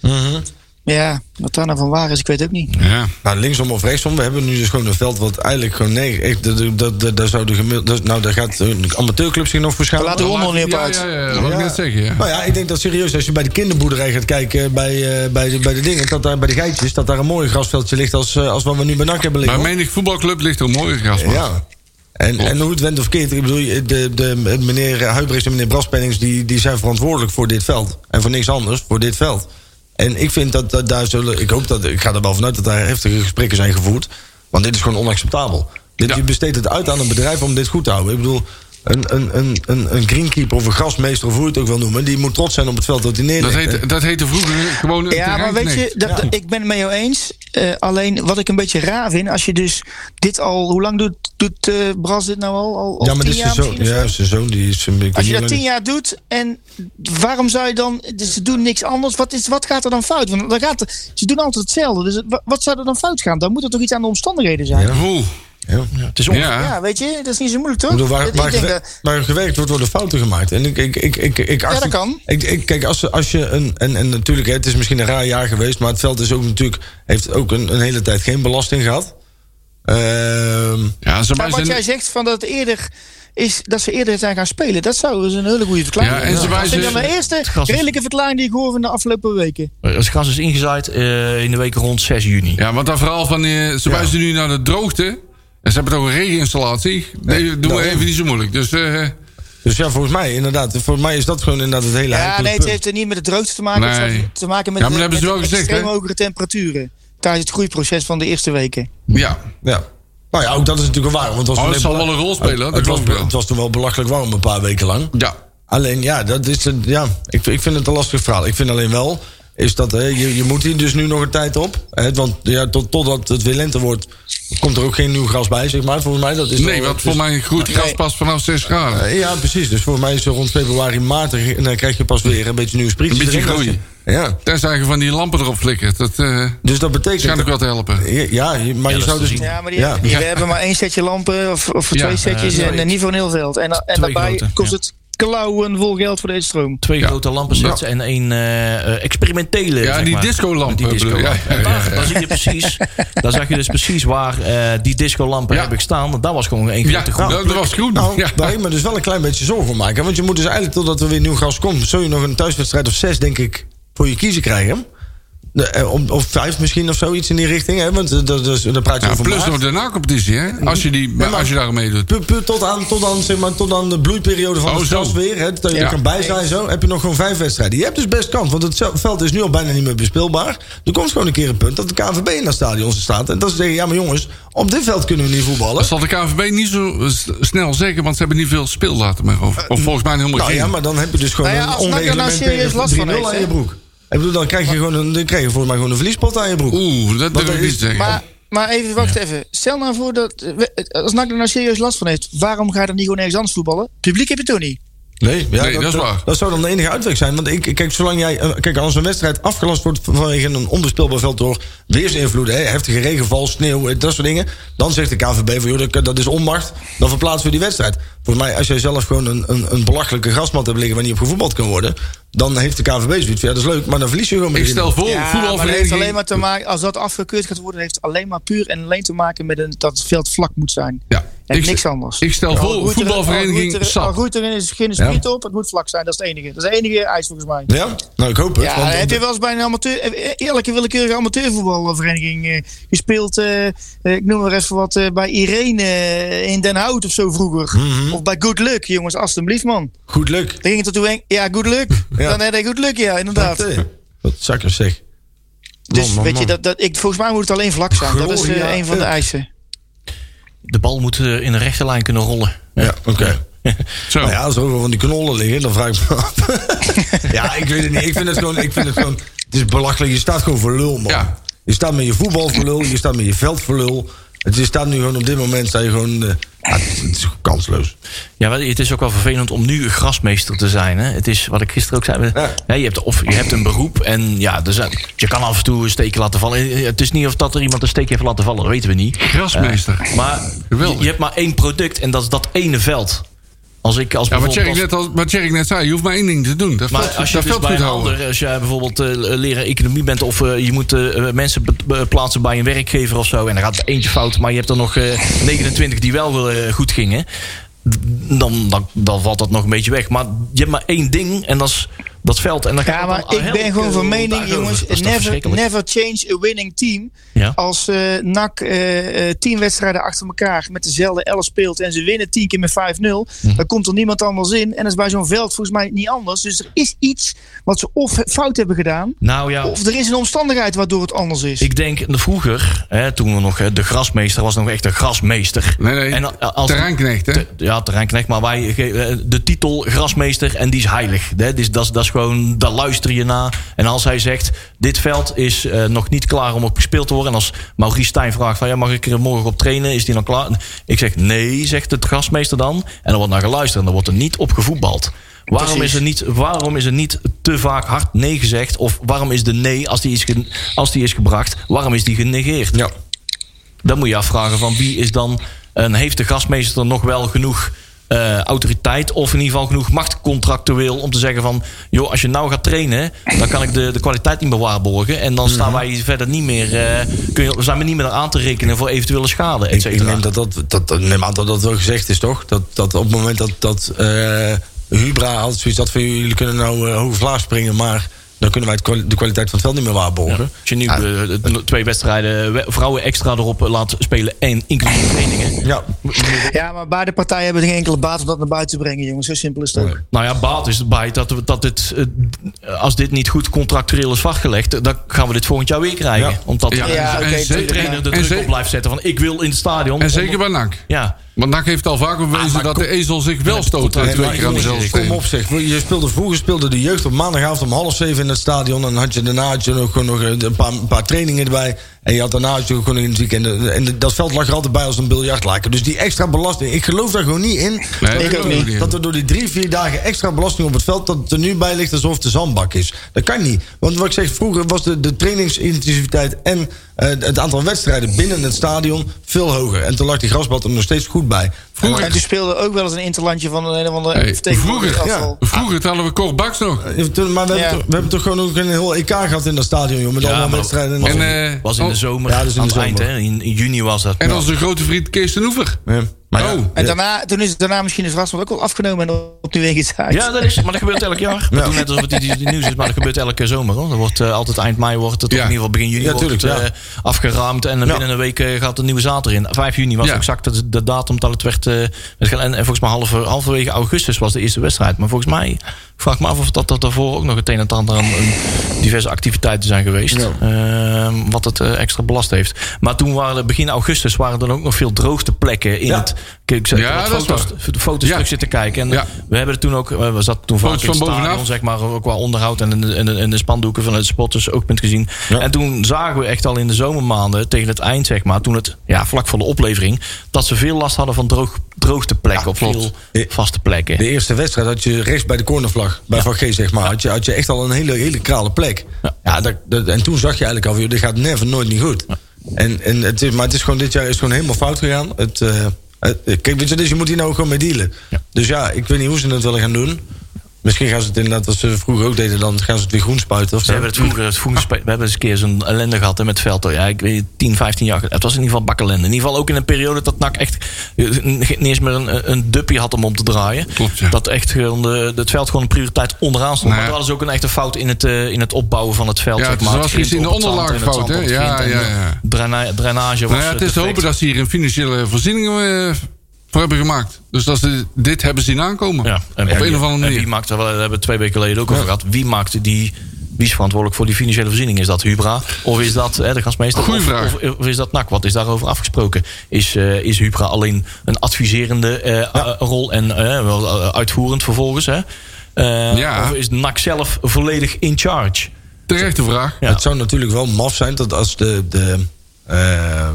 ja, wat daar nou van waar is, ik weet ook niet.
Ja.
Nou, linksom of rechtsom, we hebben nu dus gewoon een veld wat eigenlijk gewoon nee, echt, dat, dat, dat, daar zou de gemiddelde, dat- nou daar gaat een amateurclub zich nog voor schamen.
Laat de hondel niet op
ja,
uit.
ja, ja, dat wil ik net zeggen. Ja.
Nou ja, ik denk dat serieus, als je bij de kinderboerderij gaat kijken, bij, eh, bij, de, bij de dingen, dat daar bij de geitjes, dat daar een mooi grasveldje ligt als, eh, als wat we nu bij NAC hebben
Bij
liggen.
menig voetbalclub ligt er een mooie grasmat.
Ja. En, en hoe het went of keert, ik bedoel, de, de, meneer Huibrechts en meneer Braspennings... Die, die zijn verantwoordelijk voor dit veld. En voor niks anders, voor dit veld. En ik vind dat, dat daar zullen... Ik, hoop dat, ik ga er wel vanuit dat daar heftige gesprekken zijn gevoerd. Want dit is gewoon onacceptabel. Dit,
Ja.
Je besteedt het uit aan een bedrijf om dit goed te houden. Ik bedoel, een, een, een, een, een greenkeeper of een grasmeester... of hoe je het ook wil noemen... die moet trots zijn op het veld dat hij
Dat,
neerlegt. hè.
heet, dat heette vroeger gewoon een
Ja, maar weet je,
terreinknecht.
dat, dat- ik ben het met jou eens. Eh, alleen wat ik een beetje raar vind, als je dus dit al, hoe lang doet, doet eh, Bras dit nou al? al al
ja, maar
tien
dit is
jaar
zijn zoon.
misschien of zo?
Ja, zijn zoon die is... een beetje-
Als je dat tien jaar doet en waarom zou je dan, dus ze doen niks anders, wat, is, wat gaat er dan fout? Want dan gaat er, ze doen altijd hetzelfde, dus wa- wat zou er dan fout gaan? Dan moet er toch iets aan de omstandigheden zijn?
Oeh,
Ja.
Ja, het is onge-
Ja.
Ja, weet je, dat is niet zo moeilijk toch?
Ik bedoel, waar,
Ik
waar,
denk
gewer-
dat-
waar gewerkt wordt, worden fouten gemaakt. En ik, ik, ik, ik, ik acht
dat
het-
kan.
Ik, ik, kijk, als, als je een. En, en natuurlijk, hè, het is misschien een raar jaar geweest. Maar het veld is ook natuurlijk. Heeft ook een, een hele tijd geen belasting gehad. Ehm,
Ja, ze wij
Maar wat
zijn-
jij zegt van dat het eerder is dat ze eerder zijn gaan spelen, dat zou dus een hele goede verklaring
Ja, en
zijn.
ze
dat
wijzen-
vind ik dan de eerste
Gast is-
redelijke verklaring die ik hoor van de afgelopen weken.
Eh, Het gas is ingezaaid eh, in de week rond 6 juni.
Ja, want dan vooral van. eh, ze wijzen nu naar de droogte. En ze hebben toch een regeninstallatie. Nee, doen we
daarom.
even niet zo moeilijk. Dus. eh,
dus ja, volgens mij, inderdaad. Volgens mij is dat gewoon inderdaad het hele.
Ja,
heikele
nee, het
punt.
heeft er niet met de droogte te maken. Het
Nee.
heeft te maken met,
Ja, maar dat
de-
hebben ze
met
wel gezegd,
extreem
hè?
hogere temperaturen. Tijdens het groeiproces van de eerste weken.
ja.
Ja. Nou ja, ook dat is natuurlijk waar. Want het, was
Oh,
toen
het
even
zal wel
bela-
een rol spelen, dat
Het was,
geloof ik wel.
het was toen wel belachelijk warm een paar weken lang.
Ja.
Alleen ja, dat is een- ja ik, ik vind het een lastig verhaal. Ik vind alleen wel, is dat, hè, je, je moet hier dus nu nog een tijd op. Hè, want ja, tot, totdat het weer lente wordt, komt er ook geen nieuw gras bij, zeg maar. Volgens mij dat is
Dus Nee,
wel-
want voor mij groeit gras pas vanaf 6 graden.
Eh, Ja, precies. Dus volgens mij is er rond februari, maart... en dan krijg je pas weer een beetje nieuwe sprietjes.
Een beetje
erin.
groei.
Ja,
Tenzij je van die lampen erop flikkert. Dat eh
dus dat betekent...
schijnt ook wel te helpen.
Ja, ja, maar je
is
zou
te
dus...
zien.
Ja, maar die,
Ja.
die- we hebben maar één setje lampen of, of
Ja,
twee setjes
eh,
en eh, niet voor een heel veld. En, da- en
Twee
daarbij
grote,
kost
ja.
het klauwenvol geld voor deze stroom.
Twee
Ja.
grote lampenzetten en één eh, eh, experimentele.
Ja,
zeg
die
maar.
discolamp,
Die
bedoel je?
discolamp.
Ja, ja,
En daar,
ja, ja.
daar zie je precies, daar zag je dus precies waar eh, die discolampen
Ja.
heb ik staan. Want daar was gewoon één
Ja,
grote
dat,
groep.
dat was groen.
Nou,
ja.
daar heb ik me dus wel een klein beetje zorgen om maken. Want je moet dus eigenlijk totdat er weer nieuw gas komt... zul je nog een thuiswedstrijd of zes, denk ik, voor je kiezen krijgen. De, eh, om- of vijf misschien of zoiets in die richting. Hè? Want eh, dat, dat, dat praat je
Ja,
over
plus
maart.
nog de na-competitie, hè? Als je, die,
maar-
als je daar mee doet.
Pu- pu- tot, aan, tot, aan, zeg maar, tot aan de bloeiperiode van
Oh,
het
zo.
gras weer. Hè, dat je
Ja.
er kan bij zijn zo. Heb je nog gewoon vijf wedstrijden. Je hebt dus best kans. Want het zel- veld is nu al bijna niet meer bespeelbaar. Er komt gewoon een keer een punt dat de KNVB in dat stadion staat. En dat ze zeggen, ja maar jongens, op dit veld kunnen we niet voetballen.
Dat zal de KNVB niet zo eh, s- snel zeggen, want ze hebben niet veel speeldatum meer over. Of volgens mij helemaal
Nou
geen.
ja, maar dan heb je dus gewoon
Nou ja,
een
als NAC er nou serieus last van
onreglementeerde 3-0 aan
heeft,
je
hè?
broek. Ik bedoel, dan krijg je gewoon een, dan krijg je volgens mij gewoon een verliespot aan je broek.
Oeh, dat durf
dat
ik
is-
niet te zeggen.
Maar, maar even, wacht even. Stel nou voor dat, eh, we- als NAC er nou serieus last van heeft, waarom ga je dan niet gewoon ergens anders voetballen? Publiek heb je toch niet?
Nee, ja,
Nee, dat is waar.
Dat zou dan de enige uitweg zijn. Want ik, kijk, zolang jij, eh, kijk, als een wedstrijd afgelast wordt vanwege een onbespeelbaar veld door weersinvloeden, hè, heftige regenval, sneeuw, eh, dat soort dingen, dan zegt de KVB van joh, dat, dat is onmacht, dan verplaatsen we die wedstrijd. Volgens mij, als jij zelf gewoon een, een, een belachelijke grasmat hebt liggen waar niet op gevoetbald kan worden, dan heeft de KVB zoiets van ja, dat is leuk, maar dan verlies je gewoon met
ik
die-
stel voor,
maar dat heeft alleen
Oh, voetbalvereniging...
maar te maken, als dat afgekeurd gaat worden, heeft het alleen maar puur en alleen te maken met een, dat het veld vlak moet zijn.
Ja,
En
ik,
niks anders.
Ik stel
Al
voor,
groeit er- al
voetbalvereniging
groeit er- Al
SAP.
goed er is geen spriet op, het moet vlak zijn, dat is het enige. Dat is de enige eis volgens mij.
Ja, nou ik hoop het.
Ja,
want-
heb je wel eens bij een amateur, eh, eerlijke willekeurige amateurvoetbalvereniging eh, gespeeld? eh, eh, ik noem maar even wat, eh, bij Irene eh, in Den Hout of zo vroeger.
Mhm.
Of bij Good Luck, jongens, alstublieft man.
Goed luck.
Dan ging het ertoe en ja, Good Luck.
Ja.
Dan had hij Good Luck, ja, inderdaad.
Wat, eh, Wat zakkers zeg.
dus
man, man,
weet
man.
je, dat, dat, ik, volgens mij moet het alleen vlak zijn. dat is eh,
Gloria
een van de
Up.
eisen.
De bal moet eh, in een rechte lijn kunnen rollen.
Ja, oké.
Zo.
Nou ja, als er overal van die knollen liggen, dan vraag ik me af. ja, ik weet het niet. Ik vind het gewoon... Ik vind het, gewoon het is belachelijk. Je staat gewoon voor lul, man.
Ja.
Je staat met je voetbal voor lul. Je staat met je veld voor lul. Het, je staat nu gewoon op dit moment... Sta je gewoon, eh, ja, het, is, het is kansloos.
Ja, wel, het is ook wel vervelend om nu grasmeester te zijn. Hè? Het is wat ik gisteren ook zei. we-
Ja.
hè, je, hebt, of je hebt een beroep en ja, er zijn- je kan af en toe een steekje laten vallen. Eh, Het is niet of dat er iemand een steekje heeft laten vallen, dat weten we niet.
Grasmeester.
Eh, maar je,
Geweldig.
je hebt maar één product en dat is dat ene veld. Als ik als
Ja, wat
bijvoorbeeld
Jerry,
als-
net, al- wat Tjerk net zei, je hoeft maar één ding te doen. Dat
Maar
veld,
als je
dat
dus
veld
bij
goed
een
houden.
ander, als jij bijvoorbeeld eh, leraar economie bent of eh, je moet eh, mensen be- be- plaatsen bij een werkgever of zo en er gaat eentje fout, maar je hebt er nog eh, 29 die wel eh, goed gingen, dan, dan, dan valt dat nog een beetje weg. Maar je hebt maar één ding en dat is dat veld. En dan gaat
Ja,
het
maar
dan
ik ben
elke
gewoon van
dag
mening,
over.
jongens,
Dat is toch
never,
verschrikkelijk?
never change a winning team.
Ja.
Als eh NAC eh, eh, tien wedstrijden achter elkaar met dezelfde elf speelt en ze winnen tien keer met 5-0, dan komt er niemand anders in. En dat is bij zo'n veld volgens mij niet anders. Dus er is iets wat ze of fout hebben gedaan,
Nou ja,
of er is een omstandigheid waardoor het anders is.
ik denk vroeger, hè, toen we nog eh, de grasmeester was, nog echt een grasmeester.
Nee, nee,
En a- als-
terreinknecht, hè?
Te- ja, terreinknecht, maar wij ge- eh, de titel grasmeester en die is heilig. Hè? Dus dat, is- dat is gewoon, daar luister je naar. En als hij zegt, dit veld is eh, nog niet klaar om op gespeeld te worden. En als Maurice Stijn vraagt van, ja, mag ik er morgen op trainen? Is die dan klaar? Ik zeg, nee, zegt de grasmeester dan. En dan wordt naar geluisterd en dan wordt er niet op gevoetbald. Waarom
Precies.
is, er niet, waarom is er niet te vaak hard nee gezegd? Of waarom is de nee, als die is, ge- als die is gebracht, waarom is die genegeerd?
Ja.
Dan moet je je afvragen van wie is dan... En heeft de gastmeester nog wel genoeg eh, autoriteit... of in ieder geval genoeg macht contractueel om te zeggen van... joh, als je nou gaat trainen, dan kan ik de, de kwaliteit niet meer waarborgen. En dan
Mhm.
staan wij verder niet meer... eh, kun je, zijn we niet meer aan te rekenen voor eventuele schade, et
Ik, ik
cetera.
neem, dat, dat, dat, dat- neem aan dat dat wel gezegd is, toch? Dat, dat op het moment dat, dat eh, Hubra had zoiets had van... jullie kunnen nou eh hoge vlaag springen, maar... dan kunnen wij het kwali- de kwaliteit van het veld niet meer waarborgen.
Als je nu eh, de twee wedstrijden we- vrouwen extra erop laat spelen... en inclusief trainingen.
Ja,
Ja, maar beide partijen hebben geen enkele baat om dat naar buiten te brengen, jongens. Zo simpel is het ook.
Nou ja, baat is erbij dat, we- dat dit, eh, als dit niet goed contractueel is vastgelegd, dan gaan we dit volgend jaar weer krijgen.
Ja.
Omdat
Ja,
de
Ja,
en,
oké,
en
tuurlijk,
zeker,
ja.
trainer de
En
druk
ze-
op blijft zetten van ik wil in het stadion.
en
om-
zeker bij NAC.
Ja,
Want NAC heeft al
Ah,
vaak bewezen dat de ezel zich wel stoot
Ja,
uit
maar
twee keer aan
jongens,
dezelfde
Kom
steen.
op zeg. Je speelde, vroeger speelde de jeugd op maandagavond om half zeven in het stadion. En had je daarna had je nog, gewoon nog een, paar, een paar trainingen erbij. En je had daarna had je ook gewoon in het weekend. En dat veld lag er altijd bij als een biljartlaken. Dus die extra belasting. Ik geloof daar gewoon niet in.
Nee,
Ik
dat
ook
wil
niet.
in.
Dat er door die drie, vier dagen extra belasting op het veld... dat het er nu bij ligt alsof het de zandbak is. Dat kan niet. Want wat ik zeg, vroeger was de, de trainingsintensiviteit... en eh, het aantal wedstrijden binnen het stadion veel hoger. En toen lag die grasbad er nog steeds goed bij.
Vroeger-
En die speelde ook wel eens een interlandje van een of andere
Hey,
vertegenwoordiger
vroeger,
afval.
Vroeger hadden we Cor Baks nog.
Ja, toen- maar we,
Ja.
hebben toch, we hebben toch gewoon ook een heel EK gehad in dat stadion, joh, met
Ja,
allemaal
maar-
wedstrijden. en-
was,
En,
in,
eh,
was in de
oh.
zomer,
Ja, dat is in
aan
de
het eind,
zomer.
hè, in, in juni was dat.
En onze grote vriend Kees ten Oever.
Ja. Maar ja.
Oh.
En daarna, toen is het daarna misschien is Rasmus ook wel afgenomen en op de weg is uit.
ja, dat is, maar dat gebeurt elk jaar. We doen net alsof het niet- niet nieuws is, maar dat gebeurt elke zomer. Hoor. Dat wordt eh, altijd eind mei, wordt het, of
Ja.
in ieder geval begin juni,
Ja,
wordt het,
tuurlijk, ja.
eh, afgeruimd. En dan
Ja.
binnen een week eh, gaat de nieuwe zaad erin. 5 juni was
Ja.
exact de, de datum dat het werd. eh, werd gedaan. en, en volgens mij halver- halverwege augustus was de eerste wedstrijd. Maar volgens mij, ik vraag me af of dat, dat daarvoor ook nog het een en het ander aan aan diverse activiteiten zijn geweest. Ehm, wat het eh, extra belast heeft. Maar toen waren er begin augustus waren er ook nog veel droogte plekken in
Ja.
het. Ik zei,
Ja,
ik had
dat is
foto's, de foto's
Ja.
terug zitten kijken. En
Ja.
we hebben er toen ook, eh, we zaten toen vaak
Foto's
in het
van
stadion,
bovenaf.
zeg maar, ook qua onderhoud en, de- en, de- en de spandoeken van het spotters ook bent gezien.
Ja.
En toen zagen we echt al in de zomermaanden, tegen het eind zeg maar, toen het, ja, vlak voor de oplevering, dat ze veel last hadden van droog, droogte plekken op veel vaste plekken.
De eerste wedstrijd had je rechts bij de cornervlag, bij Van G zeg maar, had je, had je echt al een hele, hele krale plek. Ja. dat, dat- en toen zag je eigenlijk al, joh, dit gaat never, nooit niet goed. En, en het is, maar het is gewoon, dit jaar is gewoon helemaal fout gegaan. Het, eh, het- kijk, weet je, dus je moet hier nou gewoon mee dealen.
Ja.
Dus ja, ik weet niet hoe ze het willen gaan doen. Misschien gaan ze het inderdaad, wat ze vroeger ook deden, dan gaan ze het weer groen spuiten. Of
Ze
zo.
hebben het vroeger, het vroeger spe- we hebben eens een keer zo'n ellende gehad hè, met Velto. Ja, ik weet 10, 15 jaar. geleden. Het was in ieder geval bakkelende. In ieder geval ook in een periode dat NAC echt eh, niet eens meer een, eh, een duppie had om om te draaien.
Klopt, ja.
Dat echt gewoon de, het veld gewoon een prioriteit onderaan stond.
Nou ja.
Maar er hadden ze ook een echte fout in het, eh, in het opbouwen van het veld.
Ja,
zeg
het
maar.
was
grind
iets in de
op het zand en het
onderlaag
zand
fout, hè?
op het
Ja,
grind en
ja,
de
ja.
Draina, drainage was
Nou ja,
eh,
het is te
defect.
hopen dat ze hier een financiële voorziening eh, voor hebben gemaakt. Dus dat ze dit hebben zien aankomen.
Ja,
Op een of andere
en wie
manier.
maakt, daar hebben we het twee weken geleden ook over gehad. Wie maakt die. Wie is verantwoordelijk voor die financiële voorziening? Is dat Hubra? Of is dat hè, de gastmeester?
Goeie
of,
vraag.
Of, of is dat NAC? Wat is daarover afgesproken? Is, eh, is Hubra alleen een adviserende eh, a- rol en eh, wel eh, uitvoerend vervolgens? Hè? Eh,
Ja.
Of is NAC zelf volledig in charge?
Terechte vraag.
Ja.
Het zou natuurlijk wel maf zijn dat als de. de ehm, eh,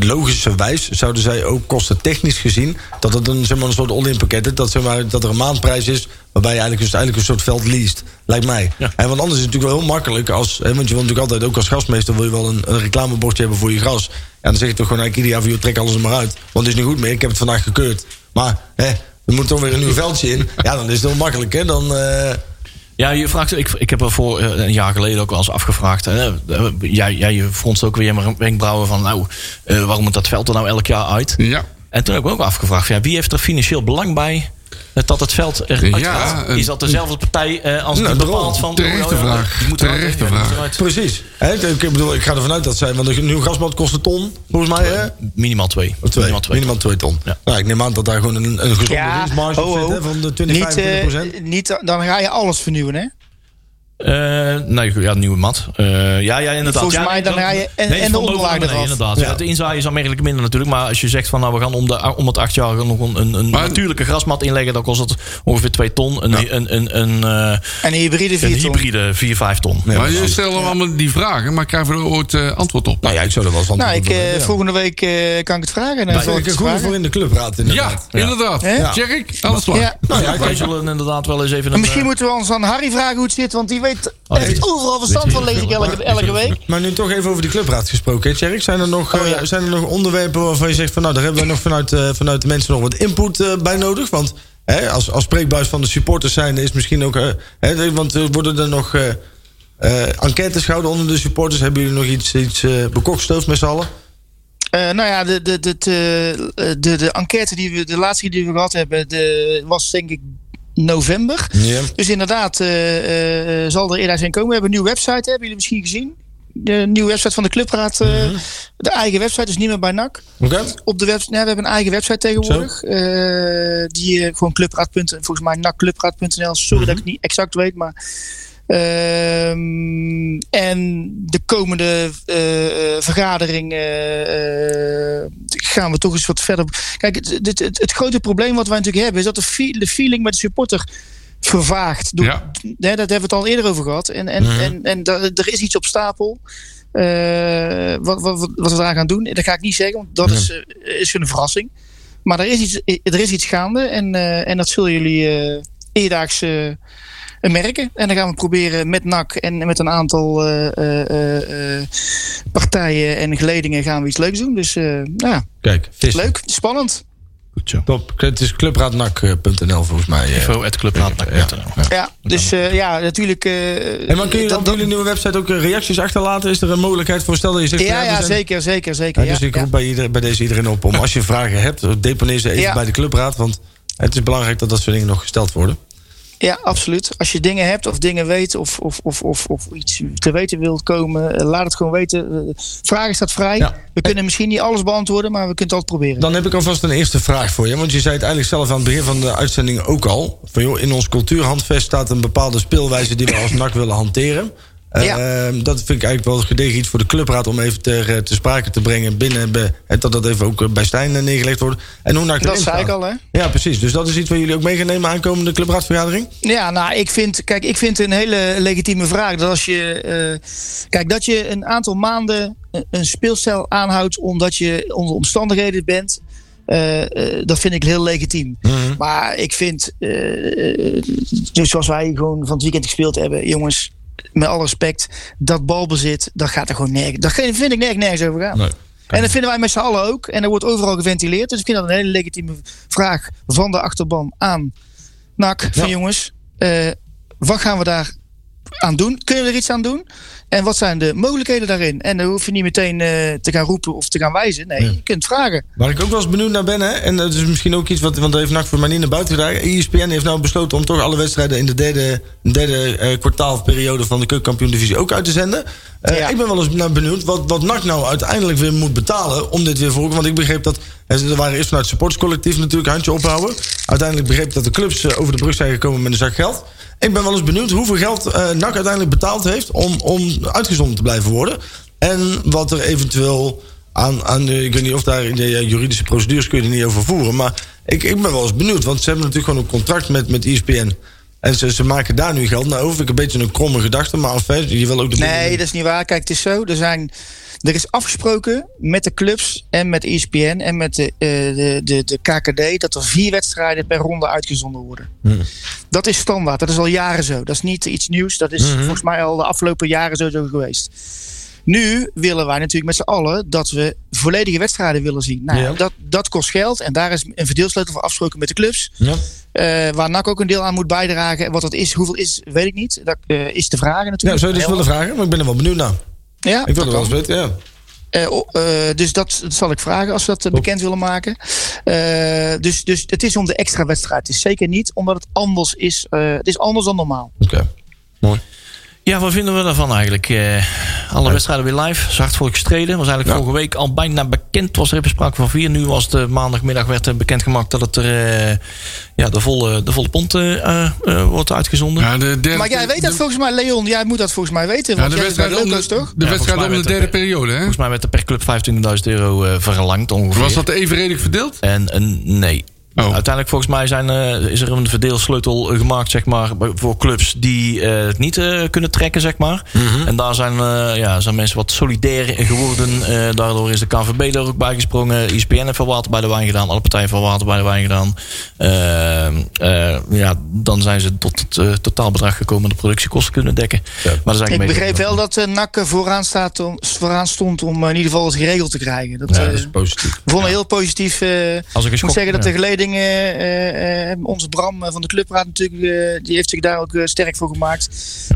logischerwijs zouden zij ook kosten technisch gezien. dat het een, zeg maar, een soort all-in pakket is. Dat, zeg maar, dat er een maandprijs is. waarbij je eigenlijk, dus eigenlijk een soort veld leest. Lijkt mij.
Ja.
En want anders is het natuurlijk wel heel makkelijk. Als, hè, want je wil natuurlijk altijd ook als gasmeester. wil je wel een, een reclamebordje hebben voor je gras. En dan zeg je toch gewoon eigenlijk ieder jaar. van, joh, trek alles er maar uit. Want het is niet goed meer. Ik heb het vandaag gekeurd. Maar hè, er moet toch weer een nieuw veldje in. Ja, dan is het heel makkelijk. Hè? Dan. eh,
Ja, je vraagt, ik, ik heb er voor eh, een jaar geleden ook wel eens afgevraagd. Hè, Eh, jij, jij je fronst ook weer maar wenkbrauwen van... nou, eh, waarom moet dat veld er nou elk jaar uit?
Ja.
En toen heb ik me ook afgevraagd: van, ja, wie heeft er financieel belang bij dat het veld eruit
Ja,
gaat?
eh,
Is dat dezelfde partij eh, als
Nou,
die
daarom.
bepaalt van.
Terechte vraag.
Die moet eruit,
Terechte
die moet
vraag.
eruit.
Precies. Hè, ik, ik bedoel, ik ga ervan uit dat zij... Want een nieuw gasbad kost een ton, volgens mij, hè?
Minimaal twee.
Of twee.
Minimaal twee.
Minimaal twee ton. Oh,
Ja.
Nou, ik neem aan dat daar gewoon een, een gezonde
Ja,
winstmarge op
ho,
zit,
ho.
hè, van de 20,
Niet, eh,
25 procent.
niet, dan ga je alles vernieuwen, hè?
Eh, nee, ja, nieuwe mat. Eh, ja, ja, inderdaad.
Volgens
Ja,
mij
nee,
dan
dat-
ga je-
nee,
en- en de
van bovenaan
onderlaag
beneden,
eraf.
Inderdaad.
Ja.
Ja. de inzaai is aanmerkelijk minder natuurlijk. Maar als je zegt van nou, we gaan om, de, om het acht jaar nog een, een, een
Maar-
natuurlijke grasmat inleggen. Dan kost het ongeveer twee ton. Een, een, een, een, eh,
En een hybride
een
vier ton.
hybride 4, 5 ton.
Ja,
Maar je
precies.
stelt allemaal die vragen, maar krijgen we er ooit eh, antwoord op?
Nou ja, ik zou er wel eens
Nou, ik,
antwoord op
eh,
hebben, ja.
volgende week eh, kan ik het vragen. Dan
Dat vind ik een goede voor in de clubraad,
Ja,
inderdaad.
inderdaad.
Hè?
Jack, aan de slag.
ja.
Nou ja, wij zullen inderdaad wel eens even.
En
een,
misschien
eh,
moeten we ons aan Harry vragen hoe het zit, want die weet weet,
Oh,
hij heeft
weet-
overal verstand
weet
van,
heel
lees ik
veel,
elke,
maar-
elke week.
Maar nu toch even over die clubraad gesproken, hè, Tjerk. Zijn er nog,
Oh,
eh,
ja.
zijn er nog onderwerpen waarvan je zegt van nou, daar hebben we nog vanuit, eh, vanuit de mensen nog wat input eh, bij nodig? Want hè, als, als spreekbuis van de supporters zijn, is misschien ook. eh, hè, want er worden er nog eh, eh, enquêtes gehouden onder de supporters? Hebben jullie nog iets, iets eh, bekokstoofd met z'n allen?
Eh, nou ja, de, de, de, de, de, de enquête die we de laatste die we gehad hebben, de, was denk ik november.
Ja.
Dus inderdaad, eh, eh, zal er eerder zijn komen. We hebben een nieuwe website, hebben jullie misschien gezien? De nieuwe website van de Clubraad. eh, De eigen website, dus niet meer bij NAC.
Oké?
Op de website, nee, we hebben een eigen website tegenwoordig. eh, die eh, gewoon clubraad.nl, volgens mij nakclubraad.nl. Sorry dat ik het niet exact weet, maar. ehm, en de komende eh, eh, vergadering eh, eh, gaan we toch eens wat verder. Kijk, het, het, het, het grote probleem wat wij natuurlijk hebben is dat de, feel- de feeling met de supporter vervaagt. Door,
Ja.
hè, daar hebben we het al eerder over gehad. En, en,
Mhm.
en, en da- er is iets op stapel. Eh, wat, wat, wat- wat we daar gaan doen, dat ga ik niet zeggen, want dat
Mhm.
is, eh, is een verrassing. Maar er is iets, eh, er is iets gaande en, eh, en dat zullen jullie eh eerdaags eh, merken. En dan gaan we proberen met NAC en met een aantal eh, eh, eh, eh, partijen en geledingen gaan we iets leuks doen. Dus eh, nou ja,
Kijk, vissen.
leuk, spannend.
eh, Goed zo.
Top. Het is clubraadnak.nl volgens mij. eh.
info@clubraad.nl.
Ja, dus eh, ja, natuurlijk. eh,
En maar kun je
dat-
op jullie nieuwe website ook eh, reacties achterlaten? Is er een mogelijkheid voor? Stel dat je zegt...
ja,
er
ja,
zijn-
zeker, zeker, zeker.
Ja,
Ja,
dus ik
ja.
roep bij, ieder, bij deze iedereen op om als je vragen hebt, deponeer ze even
Ja.
bij de clubraad. Want het is belangrijk dat dat soort dingen nog gesteld worden.
Ja, absoluut. Als je dingen hebt of dingen weet of, of, of, of, of iets te weten wilt komen, eh, laat het gewoon weten. Eh, Vragen staat vrij.
Ja.
We kunnen misschien niet alles beantwoorden, maar we kunnen het altijd proberen.
Dan heb ik alvast een eerste vraag voor je. Want je zei het eigenlijk zelf aan het begin van de uitzending ook al. Van joh, in ons cultuurhandvest staat een bepaalde speelwijze die we als NAC willen hanteren.
Ja.
Ehm, dat vind ik eigenlijk wel gedegen iets voor de clubraad om even ter, eh, te sprake te brengen binnen. be- en dat dat even ook eh, bij Stijn eh, neergelegd wordt. En hoe NAC
Dat
erin
zei ik
staat.
al, hè?
Ja, precies. Dus dat is iets waar jullie ook mee gaan nemen aankomende clubraadvergadering?
Ja, nou, ik vind, kijk, ik vind het een hele legitieme vraag. Dat als je, eh, kijk, dat je een aantal maanden een- een speelstijl aanhoudt omdat je onder omstandigheden bent. eh, eh, dat vind ik heel legitiem. Maar ik vind, eh, eh, dus zoals wij gewoon van het weekend gespeeld hebben, jongens, met alle respect, dat balbezit, dat gaat er gewoon nergens. Dat vind ik nergens, nergens over gaan. En dat vinden wij met z'n allen ook. En dat wordt overal geventileerd. Dus ik vind dat een hele legitieme vraag van de achterban aan NAC. Van jongens, eh, wat gaan we daar aan doen? Kunnen we er iets aan doen? En wat zijn de mogelijkheden daarin? En dan hoef je niet meteen eh, te gaan roepen of te gaan wijzen. Nee, je kunt vragen.
Waar ik ook wel eens benieuwd naar ben, hè, en dat is misschien ook iets wat, want dat heeft NAC voor mij niet naar buiten gedaan. ESPN heeft nou besloten om toch alle wedstrijden in de derde, derde eh, kwartaalperiode van de keukenkampioen-divisie ook uit te zenden. Eh,
Ja.
Ik ben wel eens naar benieuwd wat, wat NAC nou uiteindelijk weer moet betalen om dit weer voor. Want ik begreep dat, eh, er waren eerst vanuit het supporterscollectief natuurlijk handje ophouden. Uiteindelijk begreep ik dat de clubs eh, over de brug zijn gekomen met een zak geld. Ik ben wel eens benieuwd hoeveel geld eh NAC uiteindelijk betaald heeft om, om uitgezonden te blijven worden. En wat er eventueel aan, aan de- ik weet niet of daar in de ja, juridische procedures kun je er niet over voeren. Maar ik, ik ben wel eens benieuwd, want ze hebben natuurlijk gewoon een contract met, met E ESPN. En ze, ze maken daar nu geld naar over. Vind Ik een beetje een kromme gedachte, maar of, hè, je wil ook de
Nee, dat is niet waar. Kijk, het is zo. Er, zijn, er is afgesproken met de clubs en met E ESPN en met de, eh, de, de, de KKD dat er vier wedstrijden per ronde uitgezonden worden.
Hm.
Dat is standaard. Dat is al jaren zo. Dat is niet iets nieuws. Dat
Hm.
is volgens mij al de afgelopen jaren zo, zo geweest. Nu willen wij natuurlijk met z'n allen dat we volledige wedstrijden willen zien. Nou,
Ja.
dat, dat kost geld en daar is een verdeelsleutel voor afgesproken met de clubs.
Ja.
Eh, waar NAC ook een deel aan moet bijdragen. En Wat dat is, hoeveel is, weet ik niet. Dat eh, is te vragen natuurlijk.
Ja, zou je dus
Heel
willen vragen? Maar ik ben er wel benieuwd naar.
ja,
Ik wil er
dat
wel eens
kan.
weten, ja.
Eh, o- eh, dus dat, dat zal ik vragen als we dat eh, bekend willen maken. Eh, dus, dus het is om de extra wedstrijd. Het is zeker niet omdat het anders is. eh, het is anders dan normaal.
Oké. Mooi.
Ja, wat vinden we daarvan eigenlijk? Eh, alle wedstrijden weer live. Zacht voor gestreden. Was eigenlijk vorige week al bijna bekend. Was er even sprake van vier. Nu was het eh, maandagmiddag werd eh, bekendgemaakt dat het er eh, ja, de, volle, de volle pond eh, eh, eh, wordt uitgezonden.
Ja, de derde,
Maar jij weet dat
de-
volgens mij, Leon. Jij moet dat volgens mij weten.
ja,
Want
de
jij bent
wedstrijd
bij
om
Loco's,
de,
toch?
de,
Ja,
wedstrijd
volgens mij
om
werd
de derde
het, eh,
periode, hè?
Volgens mij werd er per club 25.000 euro eh, verlangd ongeveer.
Was dat evenredig verdeeld?
En een eh, nee.
Oh.
Uiteindelijk volgens mij zijn, eh, is er een verdeelsleutel eh, gemaakt zeg maar, bij- voor clubs die eh, het niet eh, kunnen trekken. Zeg maar. En daar zijn, eh, ja, zijn mensen wat solidair in geworden. Eh, daardoor is de KVB er ook bij gesprongen. ISPN heeft wel water bij de wijn gedaan. Alle partijen van water bij de wijn gedaan. Eh, eh, ja, dan zijn ze tot het eh, totaalbedrag gekomen de productiekosten kunnen dekken. Maar dat is eigenlijk een
Ik
beetje-
begreep wel dat eh NAC vooraan, staat om, vooraan stond om eh, in ieder geval het geregeld te krijgen. Dat, eh,
Positief.
vonden heel positief. eh,
Als ik
ik moet
geschokt-
zeggen dat
ja.
de geledingen, eh, eh, onze Bram eh, van de clubraad natuurlijk, eh, die heeft zich daar ook eh, sterk voor gemaakt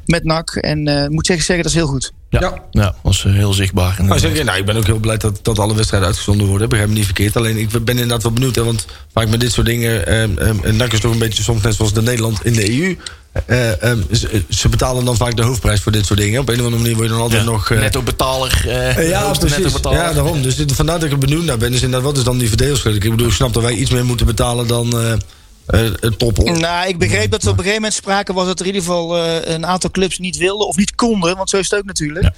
met NAC. En eh, ik moet zeggen, zeggen, dat is heel goed.
Ja,
Ja.
ja. was eh, heel zichtbaar.
Nou, zeg je, nou, ik ben ook heel blij dat, dat alle wedstrijden uitgezonden worden. Begrijp me niet verkeerd. Alleen ik ben inderdaad wel benieuwd. Hè, want vaak met dit soort dingen. ehm ehm, en NAC is toch een beetje soms net zoals de Nederland in de EU. Eh, ehm, ze, ze betalen dan vaak de hoofdprijs voor dit soort dingen. Op een of andere manier word je dan altijd nog. eh,
netto betaler.
eh, ja, precies. Ja, daarom. Dus dit- vandaar dat ik er benieuwd naar ben. Is inderdaad, wat is dan die verdeelschuld? Ik bedoel, ik snap dat wij iets meer moeten betalen dan eh, eh, het toppel.
Nou, ik begreep dat er op een gegeven moment sprake was dat er in ieder geval eh, een aantal clubs niet wilden of niet konden, want zo is het ook natuurlijk.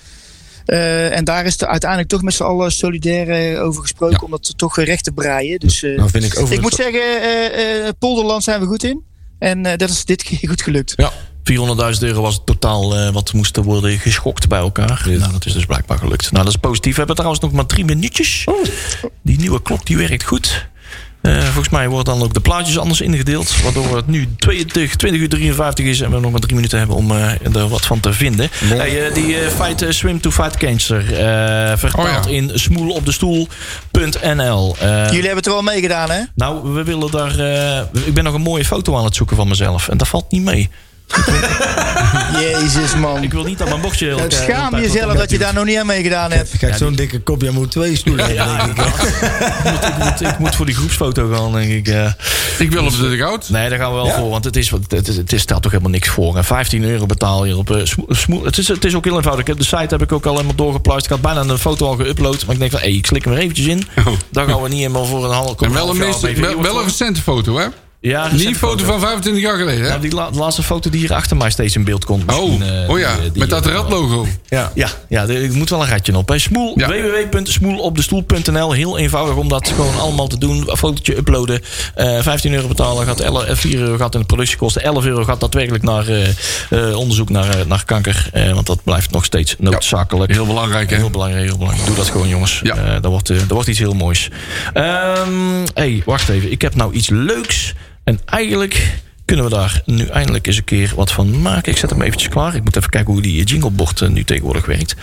Eh, en daar is er uiteindelijk toch met z'n allen solidair eh, over gesproken om dat toch eh, recht te breien. Dus, eh,
Nou, vind ik overigens-
moet zeggen, eh, eh, Polderland zijn we goed in. En eh, dat is dit keer goed gelukt.
Ja. 400.000 euro was het totaal eh, wat moest er worden geschokt bij elkaar. Nou, dat is dus blijkbaar gelukt. Nou, dat is positief. We hebben trouwens nog maar drie minuutjes.
Oh.
Eh.
Die nieuwe klok die werkt goed. Eh, volgens mij worden dan ook de plaatjes anders ingedeeld. Waardoor het nu 20, 20 uur 53 is. En we nog maar drie minuten hebben om eh, er wat van te vinden. Hey, eh, die eh, fight, eh, Swim to Fight Cancer. eh vertaald
Oh ja.
in smoelopdestoel.nl. Eh,
Jullie hebben het er wel mee gedaan, hè?
nou, we willen daar. eh, ik ben nog een mooie foto aan het zoeken van mezelf. En dat valt niet mee.
Jezus, man.
Ik wil niet dat mijn bochtje heel
Het
eh, heel
Nou, schaam
tijd
jezelf
wordt
dat je daar nog niet aan meegedaan hebt.
Kijk, zo'n dikke kop, jij moet twee stoelen hebben,
Ja,
denk ik.
opgeduwd. Ik moet, ik moet voor die groepsfoto gaan, denk ik. eh.
Ik wil op de goud.
Nee, daar gaan we wel voor. Want het, is, wat- het, is- het is, staat toch helemaal niks voor. En 15 euro betaal je op... eh, smo- smo- het, is, het is ook heel eenvoudig. Ik heb de site heb ik ook al helemaal doorgepluist. Ik had bijna een foto al geüpload. Maar ik denk van, hé, ik slik hem er eventjes in. Dan gaan we niet helemaal voor een halve...
Oh. En wel een, meeste, wel, wel een recente foto, hè?
Ja,
Niet een
recente
foto van 25 jaar geleden, hè?
Nou, die la- de laatste foto die hier achter mij steeds in beeld komt.
Oh,
Misschien, eh,
oh ja,
die- die-
met dat radlogo.
Ja.
Ja, ja, er er moet wel een ratje op. Hè. Smoel,
Ja.
www.smoelopdestoel.nl. Heel eenvoudig om dat gewoon allemaal te doen. Een fotootje uploaden. Eh 15 euro betalen. Gaat elle- eh, 4 euro gaat in de productiekosten. 11 euro gaat daadwerkelijk naar eh, eh, onderzoek naar, eh, naar kanker. Eh, want dat blijft nog steeds noodzakelijk.
Heel belangrijk, hè?
Heel belangrijk, heel belangrijk. Doe dat gewoon, jongens.
Ja.
Ja. dat, wordt, eh, dat wordt iets heel moois. Ehm hey, wacht even. Ik heb nou iets leuks. En eigenlijk kunnen we daar nu eindelijk eens een keer wat van maken. Ik zet hem eventjes klaar. Ik moet even kijken hoe die jinglebord eh, nu tegenwoordig werkt.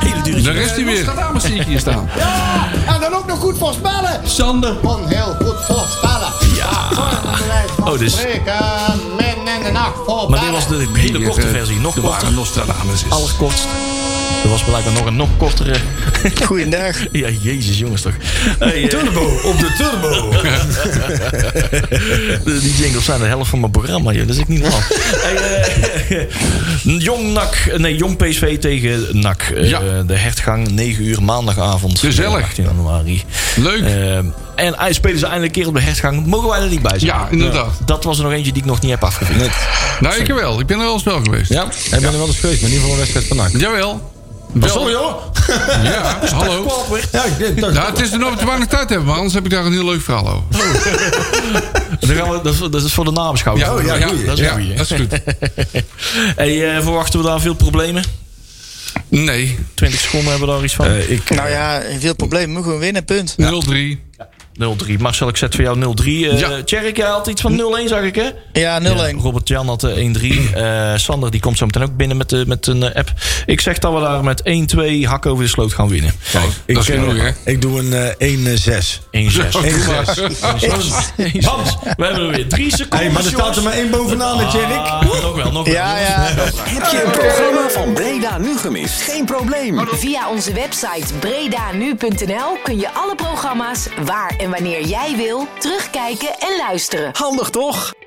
Hele dure
Daar is hij weer.
Dames zie ik hier staan.
Ja, en dan ook nog goed voorspellen.
Sander.
Kon heel goed voorspellen. Ja.
Oh, dit is-
Men en de nacht voorbellen.
Maar dit was de hele korte versie. Nog
De ware
korter.
Nostradamus is.
Allerkortst. Er was blijkbaar nog een nog kortere.
Goeiedag.
Ja, jezus jongens toch. Hey, eh,
Op de turbo.
De- Die jingles zijn de helft van mijn programma, joh. dat is ik niet normaal. Hey, eh, jong NAC, nee, Jong PSV tegen NAC. Eh,
Ja.
De hertgang, 9 uur maandagavond.
Gezellig.
eh, 18 januari.
Leuk.
Eh, en hij- spelen ze eindelijk een keer op de hertgang. Mogen wij er niet bij zijn?
Ja, inderdaad.
Dat was er nog eentje die ik nog niet heb afgevinkt.
Nou, ik wel. Ik ben er wel eens wel geweest.
Ja, ik ben er wel eens geweest, maar niet voor een wedstrijd van NAC.
Jawel.
Maar sorry hoor.
Ja, hallo.
Ja, ik denk dat...
Ja, het is er nog te weinig tijd hebben, maar anders heb ik daar een heel leuk verhaal over.
Dan gaan we, dat, is, dat is voor de nabeschouwing.
Oh, ja, goeie.
dat is
ja,
goeie, hè?
dat is goed.
Hey, eh, verwachten we daar veel problemen?
Nee,
20 seconden hebben we daar iets van.
Eh, ik,
Nou ja, veel problemen. Gewoon winnen, punt.
0-3.
0-3. Marcel, ik zet voor jou 0-3. Eh
Ja.
Tjerk, jij had iets van 0-1, zag ik hè?
Ja, 0-1.
Ja, Robert Jan had eh, 1-3. Eh, Sander die komt zo meteen ook binnen met, eh, met een eh, app. Ik zeg dat we daar met 1-2 hak over de sloot gaan winnen.
Dat is genoeg, hè?
ik doe een eh, 1-6.
1-6.
Doe maar.
Hans, we hebben er weer drie seconden.
Hey, maar er staat er maar één bovenaan, hè, Tjerk.
Ah, nog wel, nog wel.
Ja, ja.
Heb je een programma van Breda nu gemist? Geen probleem.
Via onze website bredanu.nl kun je alle programma's waar en wanneer jij wil terugkijken en luisteren.
Handig toch?